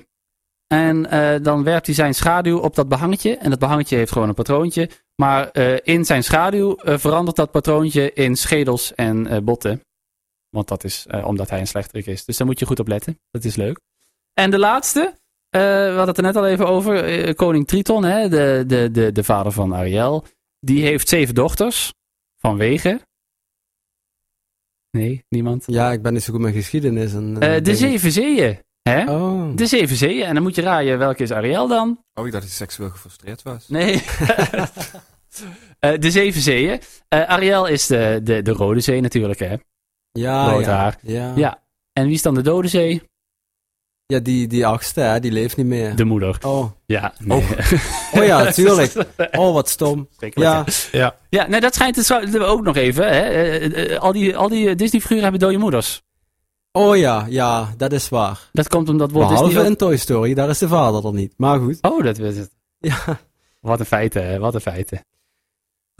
[SPEAKER 2] En eh, dan werpt hij zijn schaduw op dat behangetje. En dat behangetje heeft gewoon een patroontje. Maar eh, in zijn schaduw eh, verandert dat patroontje in schedels en eh, botten. Want dat is eh, omdat hij een slechterik is. Dus daar moet je goed op letten. Dat is leuk. En de laatste. eh, we hadden het er net al even over. eh, Koning Triton, hè, de, de, de, de vader van Ariel. Die heeft zeven dochters. Vanwege. Nee, niemand.
[SPEAKER 3] Ja, ik ben niet zo goed met geschiedenis. En, eh,
[SPEAKER 2] Eh, de
[SPEAKER 3] dingen.
[SPEAKER 2] zeven zeeën. Hè?
[SPEAKER 3] Oh.
[SPEAKER 2] De zeven zeeën. En dan moet je raaien welke is Ariel dan?
[SPEAKER 1] Oh, ik dacht dat hij seksueel gefrustreerd was.
[SPEAKER 2] Nee. Eh, de zeven zeeën. Eh, Ariel is de, de, de Rode Zee natuurlijk, hè?
[SPEAKER 3] Ja,
[SPEAKER 2] Rood
[SPEAKER 3] ja.
[SPEAKER 2] haar.
[SPEAKER 3] Ja.
[SPEAKER 2] Ja. En wie is dan de Dode Zee?
[SPEAKER 3] Ja, die, die achtste, hè, die leeft niet meer.
[SPEAKER 2] De moeder.
[SPEAKER 3] Oh.
[SPEAKER 2] Ja. nee.
[SPEAKER 1] Oh.
[SPEAKER 3] oh ja, tuurlijk. Oh, wat stom.
[SPEAKER 2] Schrikkelijk, hè?
[SPEAKER 3] Ja,
[SPEAKER 2] Ja, nee, dat schijnt het zo- ook nog even. Hè? Eh, eh, al die, al die eh, Disney-figuren hebben dode moeders.
[SPEAKER 3] oh ja, ja, dat is waar.
[SPEAKER 2] Dat komt omdat Walt
[SPEAKER 3] Behalve
[SPEAKER 2] Disney... ook-
[SPEAKER 3] in Toy Story, daar is de vader er niet. Maar goed.
[SPEAKER 2] Oh, dat weet het.
[SPEAKER 3] Ja.
[SPEAKER 2] Wat een feiten, hè, wat een feiten.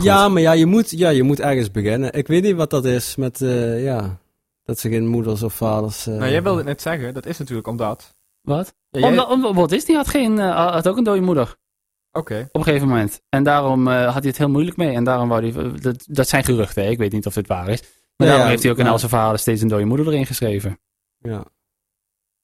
[SPEAKER 3] Ja, maar ja je, moet, ja, je moet ergens beginnen. Ik weet niet wat dat is met, eh, ja, dat ze geen moeders of vaders... eh,
[SPEAKER 1] Nou, jij wilde het net zeggen, dat is natuurlijk omdat...
[SPEAKER 2] Wat?
[SPEAKER 1] Ja, jij-
[SPEAKER 2] Omdat, om, Walt Disney had, geen, eh, had ook een dode moeder.
[SPEAKER 1] Oké.
[SPEAKER 2] Op een gegeven moment. En daarom eh, had hij het heel moeilijk mee. En daarom wou hij. eh, Dat, dat zijn geruchten, hè? ik weet niet of dit waar is. Maar
[SPEAKER 3] Ja,
[SPEAKER 2] daarom
[SPEAKER 3] ja,
[SPEAKER 2] heeft hij ook in
[SPEAKER 3] maar-
[SPEAKER 2] al zijn verhalen steeds een dode moeder erin geschreven.
[SPEAKER 3] Ja.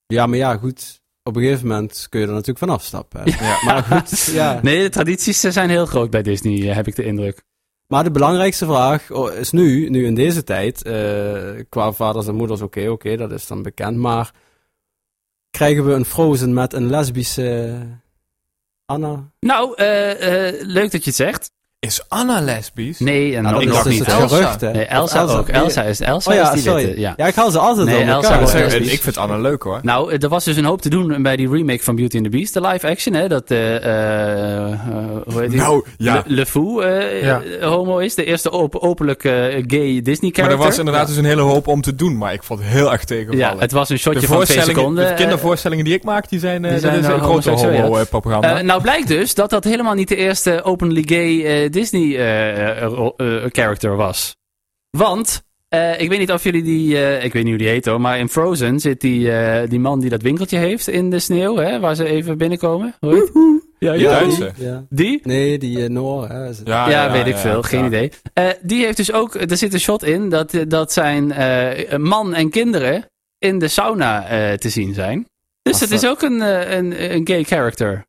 [SPEAKER 3] ja, maar ja, goed. Op een gegeven moment kun je er natuurlijk van afstappen. hè.
[SPEAKER 1] Ja.
[SPEAKER 3] Maar goed, ja.
[SPEAKER 2] Nee, de tradities eh, zijn heel groot bij Disney, eh, heb ik de indruk.
[SPEAKER 3] Maar de belangrijkste vraag oh, is nu, nu in deze tijd, eh, qua vaders en moeders, oké, oké, dat is dan bekend. Maar krijgen we een Frozen met een lesbische Anna?
[SPEAKER 2] Nou, eh, eh, leuk dat je het zegt.
[SPEAKER 1] Is Anna lesbisch?
[SPEAKER 2] Nee, en
[SPEAKER 3] Nou,
[SPEAKER 2] nog,
[SPEAKER 3] dat
[SPEAKER 2] nog
[SPEAKER 3] is dus
[SPEAKER 2] niet.
[SPEAKER 3] het
[SPEAKER 1] Elsa.
[SPEAKER 3] gerucht, hè?
[SPEAKER 2] Nee, Elsa,
[SPEAKER 3] Of
[SPEAKER 2] ook.
[SPEAKER 3] Nee,
[SPEAKER 2] Elsa is, Elsa
[SPEAKER 3] Oh ja,
[SPEAKER 2] is die
[SPEAKER 3] sorry.
[SPEAKER 2] witte. Ja.
[SPEAKER 3] Ja, ik haal ze altijd
[SPEAKER 2] Nee,
[SPEAKER 3] door
[SPEAKER 2] Elsa
[SPEAKER 3] elkaar.
[SPEAKER 2] was
[SPEAKER 1] Zeg,
[SPEAKER 2] lesbisch.
[SPEAKER 1] Ik vind Anna leuk hoor.
[SPEAKER 2] Nou, eh, er was dus een hoop te doen bij die remake van Beauty and the Beast. De live action, hè? Dat, eh, eh, eh, hoe heet die?
[SPEAKER 1] Nou, ja.
[SPEAKER 2] Le, Le Fou eh,
[SPEAKER 5] Ja.
[SPEAKER 2] eh, homo is. De eerste op- openlijk eh, gay Disney character.
[SPEAKER 1] Maar er was inderdaad dus een hele hoop om te doen, maar ik vond het heel erg tegenvallen.
[SPEAKER 2] Ja, het was een shotje
[SPEAKER 1] de,
[SPEAKER 2] van twee
[SPEAKER 1] voorstellingen,
[SPEAKER 2] seconden. eh,
[SPEAKER 1] de kindervoorstellingen die ik maak, die zijn, eh
[SPEAKER 2] die zijn,
[SPEAKER 1] dat is
[SPEAKER 2] eh,
[SPEAKER 1] een grote
[SPEAKER 2] homoseksueel, Eh,
[SPEAKER 1] homo-propaganda.
[SPEAKER 2] eh, nou blijkt dus dat dat helemaal niet de eerste openly gay eh, Disney eh, eh, ro- eh, character was. Want, eh, ik weet niet of jullie die, eh, ik weet niet hoe die heet hoor, maar in Frozen zit die, eh, die man die dat winkeltje heeft in de sneeuw, hè, waar ze even binnenkomen. Hoe heet? Ja,
[SPEAKER 1] Die
[SPEAKER 2] ja.
[SPEAKER 1] Duitse.
[SPEAKER 3] Ja.
[SPEAKER 2] Die?
[SPEAKER 3] Nee, die eh, Noor. Hè, is het.
[SPEAKER 2] Ja,
[SPEAKER 1] Ah, ja,
[SPEAKER 2] weet ik
[SPEAKER 1] ja,
[SPEAKER 2] veel. Geen
[SPEAKER 1] ja.
[SPEAKER 2] idee. Eh, die heeft dus ook, er zit een shot in dat, eh, dat zijn eh, man en kinderen in de sauna eh, te zien zijn. Dus
[SPEAKER 3] Ach,
[SPEAKER 2] dat
[SPEAKER 3] zo.
[SPEAKER 2] is ook een, eh, een, een gay character.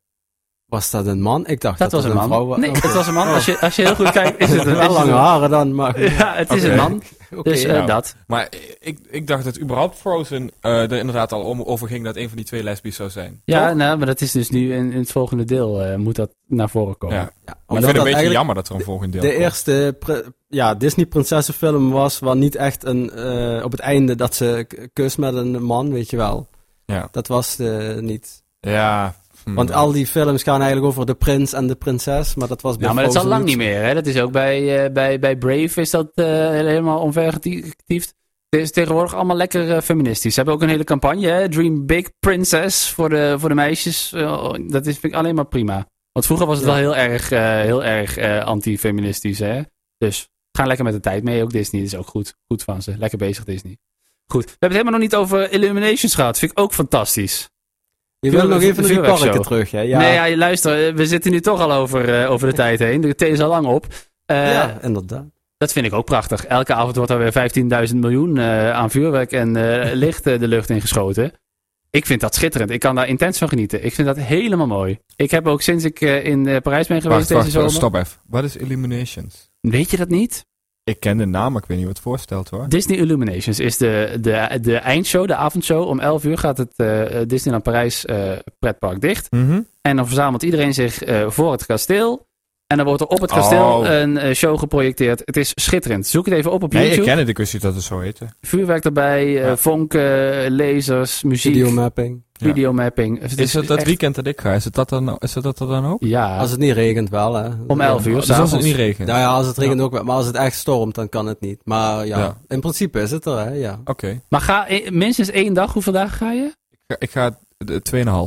[SPEAKER 3] Was dat een man? Ik dacht
[SPEAKER 2] Dat,
[SPEAKER 3] dat,
[SPEAKER 2] was een man.
[SPEAKER 3] vrouw
[SPEAKER 1] eh,
[SPEAKER 3] was.
[SPEAKER 2] Nee,
[SPEAKER 3] Oh,
[SPEAKER 2] het was een man. Als je, als je heel goed kijkt, is het een
[SPEAKER 3] wel
[SPEAKER 2] is het
[SPEAKER 3] lange
[SPEAKER 2] een-
[SPEAKER 3] haren dan, maar goed.
[SPEAKER 2] Ja, het is
[SPEAKER 1] Oké.
[SPEAKER 2] een man.
[SPEAKER 3] Oké.
[SPEAKER 2] Dus eh,
[SPEAKER 1] nou.
[SPEAKER 2] dat.
[SPEAKER 1] Maar ik, ik dacht dat überhaupt Frozen eh, er inderdaad al om, over ging dat een van die twee lesbisch zou zijn.
[SPEAKER 2] Ja,
[SPEAKER 1] Toch?
[SPEAKER 2] nou, maar dat is dus nu in, in het volgende deel eh, moet dat naar voren komen.
[SPEAKER 1] ja.
[SPEAKER 3] Ja,
[SPEAKER 1] Maar ik
[SPEAKER 3] omdat
[SPEAKER 1] vind het een
[SPEAKER 3] dat
[SPEAKER 1] beetje
[SPEAKER 3] eigenlijk
[SPEAKER 1] jammer dat er een volgend deel
[SPEAKER 3] De
[SPEAKER 1] komt.
[SPEAKER 3] eerste pre- ja, Disney-prinsessenfilm was waar niet echt een, eh, op het einde dat ze k- kust met een man, weet je wel.
[SPEAKER 1] Ja.
[SPEAKER 3] Dat was eh, niet.
[SPEAKER 1] Ja. hm.
[SPEAKER 3] Want al die films gaan eigenlijk over de prins en de prinses, maar dat was bij
[SPEAKER 2] Nou, maar dat is al
[SPEAKER 3] Frozen
[SPEAKER 2] lang niet meer. Hè? Dat is ook bij, eh, bij, bij Brave is dat eh, helemaal onvergetiefd. Het is tegenwoordig allemaal lekker eh, feministisch. Ze hebben ook een hele campagne, hè? Dream Big Princess voor de, voor de meisjes. Eh, dat is, vind ik alleen maar prima. Want vroeger was het
[SPEAKER 3] Ja.
[SPEAKER 2] wel heel erg, eh, heel erg eh, anti-feministisch. Hè? Dus ga lekker met de tijd mee. Ook Disney is ook goed, goed van ze. Lekker bezig Disney. Goed. We hebben het helemaal nog niet over Illuminations gehad. Vind ik ook fantastisch.
[SPEAKER 3] Je wil nog even naar die
[SPEAKER 2] Vuurwerkshow.
[SPEAKER 3] parken terug, hè? Ja,
[SPEAKER 2] Nee, ja, luister. eh, We zitten nu toch al over, eh, over de tijd heen. De thee is al lang op. Eh,
[SPEAKER 3] ja, inderdaad.
[SPEAKER 2] dat vind ik ook prachtig. Elke avond wordt er weer 15.000 miljoen eh, aan vuurwerk en eh, licht eh, de lucht ingeschoten. Ik vind dat schitterend. Ik kan daar intens van genieten. Ik vind dat helemaal mooi. Ik heb ook sinds ik eh, in eh, Parijs ben geweest
[SPEAKER 1] Wacht,
[SPEAKER 2] deze
[SPEAKER 1] wacht,
[SPEAKER 2] zomer.
[SPEAKER 1] wacht, stop even. Wat is Illuminations?
[SPEAKER 2] Weet je dat niet?
[SPEAKER 1] Ik ken de naam, maar ik weet niet wat het voorstelt hoor.
[SPEAKER 2] Disney Illuminations is de, de, de eindshow, de avondshow. Om 11 uur gaat het eh, eh, Disneyland Parijs eh, pretpark dicht.
[SPEAKER 1] Mhm.
[SPEAKER 2] En dan verzamelt iedereen zich eh, voor het kasteel. En dan wordt er op het kasteel
[SPEAKER 1] Oh.
[SPEAKER 2] een eh, show geprojecteerd. Het is schitterend. Zoek het even op op
[SPEAKER 1] Nee,
[SPEAKER 2] YouTube.
[SPEAKER 1] ik ken het, ik wist niet dat het zo heette.
[SPEAKER 2] Vuurwerk erbij, eh,
[SPEAKER 1] Ja.
[SPEAKER 2] vonken, lasers, muziek,
[SPEAKER 3] Videomapping.
[SPEAKER 1] Ja.
[SPEAKER 2] videomapping. Het
[SPEAKER 1] Is dat dat
[SPEAKER 2] echt-
[SPEAKER 1] weekend dat ik ga? Is het dat dan, is het dat er dan ook?
[SPEAKER 2] Ja,
[SPEAKER 3] Als het niet regent wel, hè?
[SPEAKER 2] om 11 uur
[SPEAKER 1] Dus als het
[SPEAKER 2] s'avonds.
[SPEAKER 1] niet regent?
[SPEAKER 3] Nou ja, als het regent ook wel. Maar als het echt stormt, dan kan het niet. Maar ja,
[SPEAKER 1] Ja.
[SPEAKER 3] in principe is het er, hè? Ja.
[SPEAKER 1] Oké.
[SPEAKER 2] Maar ga e- minstens één dag, hoeveel dagen ga je?
[SPEAKER 1] Ik ga- Ik ga de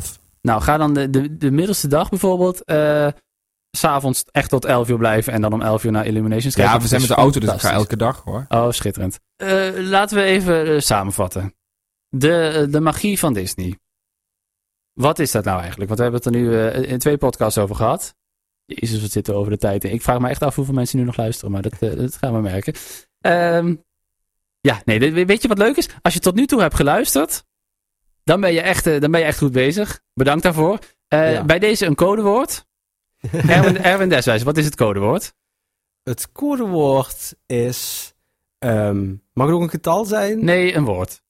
[SPEAKER 1] 2,5.
[SPEAKER 2] Nou, ga dan de, de, de middelste dag bijvoorbeeld... eh, s S'avonds echt tot 11 uur blijven en dan om 11 uur naar Illuminations kijken.
[SPEAKER 1] Ja, we
[SPEAKER 2] Dat
[SPEAKER 1] zijn
[SPEAKER 2] is
[SPEAKER 1] met de auto, dus ik ga
[SPEAKER 2] fantastisch.
[SPEAKER 1] elke dag hoor.
[SPEAKER 2] Oh, schitterend. Eh, laten we even eh, samenvatten. De, de magie van Disney. Wat is dat nou eigenlijk? Want we hebben het er nu eh, in twee podcasts over gehad. Jezus, wat zitten we over de tijd in. Ik vraag me echt af hoeveel mensen nu nog luisteren, maar dat, eh, dat gaan we merken. Ehm, ja, nee, dit- weet je wat leuk is? Als je tot nu toe hebt geluisterd, dan ben je echt, eh, dan ben je echt goed bezig. Bedankt daarvoor. Eh,
[SPEAKER 3] Ja.
[SPEAKER 2] Bij deze een codewoord. Erwin, Erwin Deswijs, wat is het codewoord?
[SPEAKER 3] Het codewoord is. ehm, mag het ook een getal zijn?
[SPEAKER 2] Nee, een woord.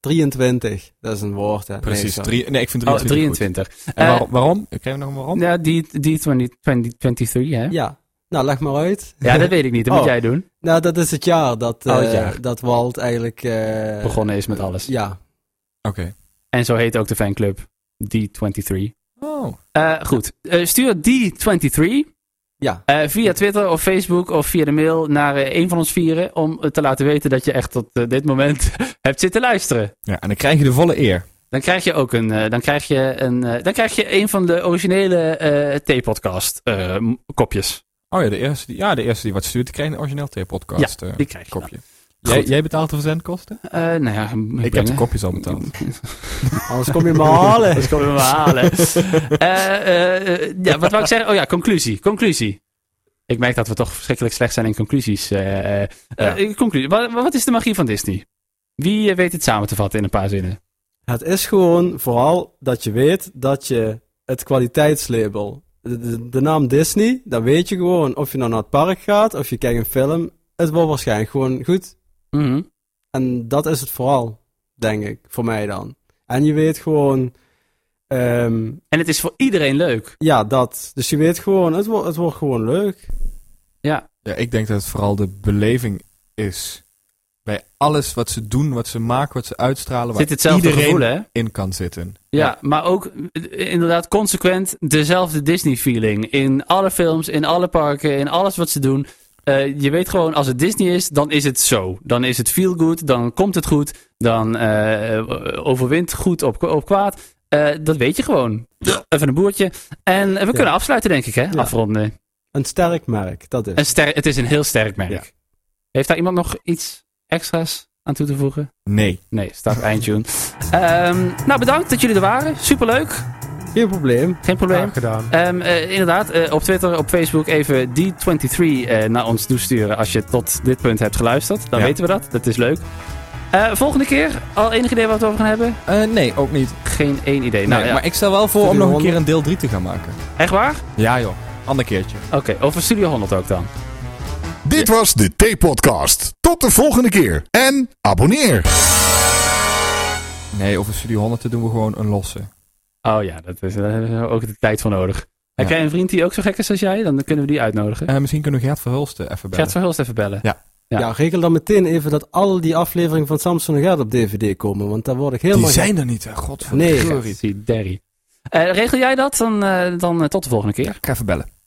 [SPEAKER 3] 23. Dat is een woord, hè? Nee,
[SPEAKER 1] Precies.
[SPEAKER 3] sorry.
[SPEAKER 1] drie, nee, ik vind
[SPEAKER 2] Oh,
[SPEAKER 1] 23. goed.
[SPEAKER 2] 23.
[SPEAKER 1] En
[SPEAKER 2] Eh,
[SPEAKER 1] waarom, waarom? Ik kreeg nog een waarom.
[SPEAKER 2] Ja, die, die 20, 2023, hè? Ja.
[SPEAKER 3] Ja, nou leg maar uit.
[SPEAKER 2] dat weet ik niet. Dat moet
[SPEAKER 3] Oh.
[SPEAKER 2] jij doen.
[SPEAKER 3] Nou, dat is het jaar dat, eh,
[SPEAKER 2] Oh, het jaar.
[SPEAKER 3] dat Walt eigenlijk... eh,
[SPEAKER 2] Begonnen is met alles.
[SPEAKER 3] Ja.
[SPEAKER 1] Oké.
[SPEAKER 2] En zo heet ook de fanclub D23.
[SPEAKER 1] Oh.
[SPEAKER 2] Eh, goed, Eh, stuur D23
[SPEAKER 3] Ja.
[SPEAKER 2] eh, via Twitter of Facebook of via de mail naar eh, een van ons vieren om eh, te laten weten dat je echt tot eh, dit moment hebt zitten luisteren.
[SPEAKER 1] Ja, en dan krijg je de volle eer.
[SPEAKER 2] Dan krijg je ook een. eh, dan, krijg je een eh, dan krijg je een van de originele eh T-podcast eh, m- kopjes.
[SPEAKER 1] Oh ja, de eerste die, ja, de eerste die wat stuurt, die kreeg een origineel T-podcast eh,
[SPEAKER 2] Die krijg je.
[SPEAKER 1] kopje. Jij,
[SPEAKER 2] Goed.
[SPEAKER 1] jij betaalt de verzendkosten?
[SPEAKER 2] dan. Eh, nou ja,
[SPEAKER 1] Ik heb de kopjes al betaald.
[SPEAKER 3] Anders kom je me halen.
[SPEAKER 2] Dat komen we halen. Eh, eh, eh, ja, wat wou ik zeggen? Oh ja, conclusie. Conclusie. Ik merk dat we toch verschrikkelijk slecht zijn in conclusies. eh, eh, eh, conclusie. Wat, wat is de magie van Disney? Wie eh, weet het samen te vatten in een paar zinnen?
[SPEAKER 3] Het is gewoon vooral dat je weet dat je het kwaliteitslabel, de, de, de naam Disney, dan weet je gewoon of je nou naar het park gaat of je kijkt een film. Het wordt waarschijnlijk gewoon goed.
[SPEAKER 2] Mhm.
[SPEAKER 3] En dat is het vooral, denk ik, voor mij dan. En je weet gewoon, ehm,
[SPEAKER 2] En het is voor iedereen leuk.
[SPEAKER 3] ja, dat. Dus je weet gewoon, het, wordt het wordt gewoon leuk.
[SPEAKER 1] Ja, ik denk dat het vooral de beleving is. Bij alles wat ze doen, wat ze maken, wat ze uitstralen, waar
[SPEAKER 2] Zit hetzelfde
[SPEAKER 1] iedereen
[SPEAKER 2] gevoel, hè? Ja,
[SPEAKER 1] in kan zitten.
[SPEAKER 2] maar ook eh, inderdaad consequent dezelfde Disney-feeling. In alle films, in alle parken, in alles wat ze doen. Eh, je weet gewoon, als het Disney is, dan is het zo. Dan is het feel good, dan komt het goed. Dan eh, overwint goed op, op kwaad. Eh, dat weet je gewoon. Even een boertje. En we kunnen afsluiten, denk ik, hè? Afronden.
[SPEAKER 3] Een sterk merk, dat is.
[SPEAKER 2] Een ster het is een heel sterk merk.
[SPEAKER 3] Ja.
[SPEAKER 2] Heeft daar iemand nog iets extra's aan toe te voegen?
[SPEAKER 1] Nee.
[SPEAKER 2] Nee, staat op eindtune. Ehm, nou, bedankt dat jullie er waren. Superleuk.
[SPEAKER 3] Geen probleem.
[SPEAKER 2] Geen probleem.
[SPEAKER 5] Graag gedaan.
[SPEAKER 1] Ah.
[SPEAKER 2] Ehm, eh, inderdaad, eh, op Twitter, op Facebook even D23 eh, naar ons toesturen als je tot dit punt hebt geluisterd. Dan
[SPEAKER 1] Ja.
[SPEAKER 2] weten we dat. Dat is leuk. Eh, volgende keer, al enig idee wat we over gaan hebben?
[SPEAKER 1] Eh, nee, ook niet.
[SPEAKER 2] Geen één idee.
[SPEAKER 1] Nee,
[SPEAKER 2] Nou, ja.
[SPEAKER 1] Maar ik stel wel voor om
[SPEAKER 3] Studio
[SPEAKER 1] nog een keer
[SPEAKER 3] honderd.
[SPEAKER 1] een deel 3 te gaan maken.
[SPEAKER 2] Echt waar?
[SPEAKER 1] Ja joh, ander keertje.
[SPEAKER 2] Oké, over Studio 100 ook dan.
[SPEAKER 4] Dit was de T-podcast. Tot de volgende keer en abonneer.
[SPEAKER 1] Nee, over Studio 100 te doen we gewoon een losse.
[SPEAKER 2] Oh ja, dat is, daar hebben we ook de tijd voor nodig. Heb
[SPEAKER 1] Ja.
[SPEAKER 2] jij een vriend die ook zo gek is als jij? Dan kunnen we die uitnodigen.
[SPEAKER 1] Eh, misschien kunnen we Gert Verhulsten even bellen.
[SPEAKER 2] Gert Verhulst even bellen. Ja.
[SPEAKER 3] Ja. regel dan meteen even dat al die afleveringen van Samsung en Gert op DVD komen, want daar word ik helemaal...
[SPEAKER 1] Die zijn er niet, hè. Godverdorie.
[SPEAKER 3] Nee.
[SPEAKER 2] Sorry. Derry. Eh, regel jij dat? Dan, eh, dan eh, tot de volgende keer.
[SPEAKER 1] Ik ga even bellen.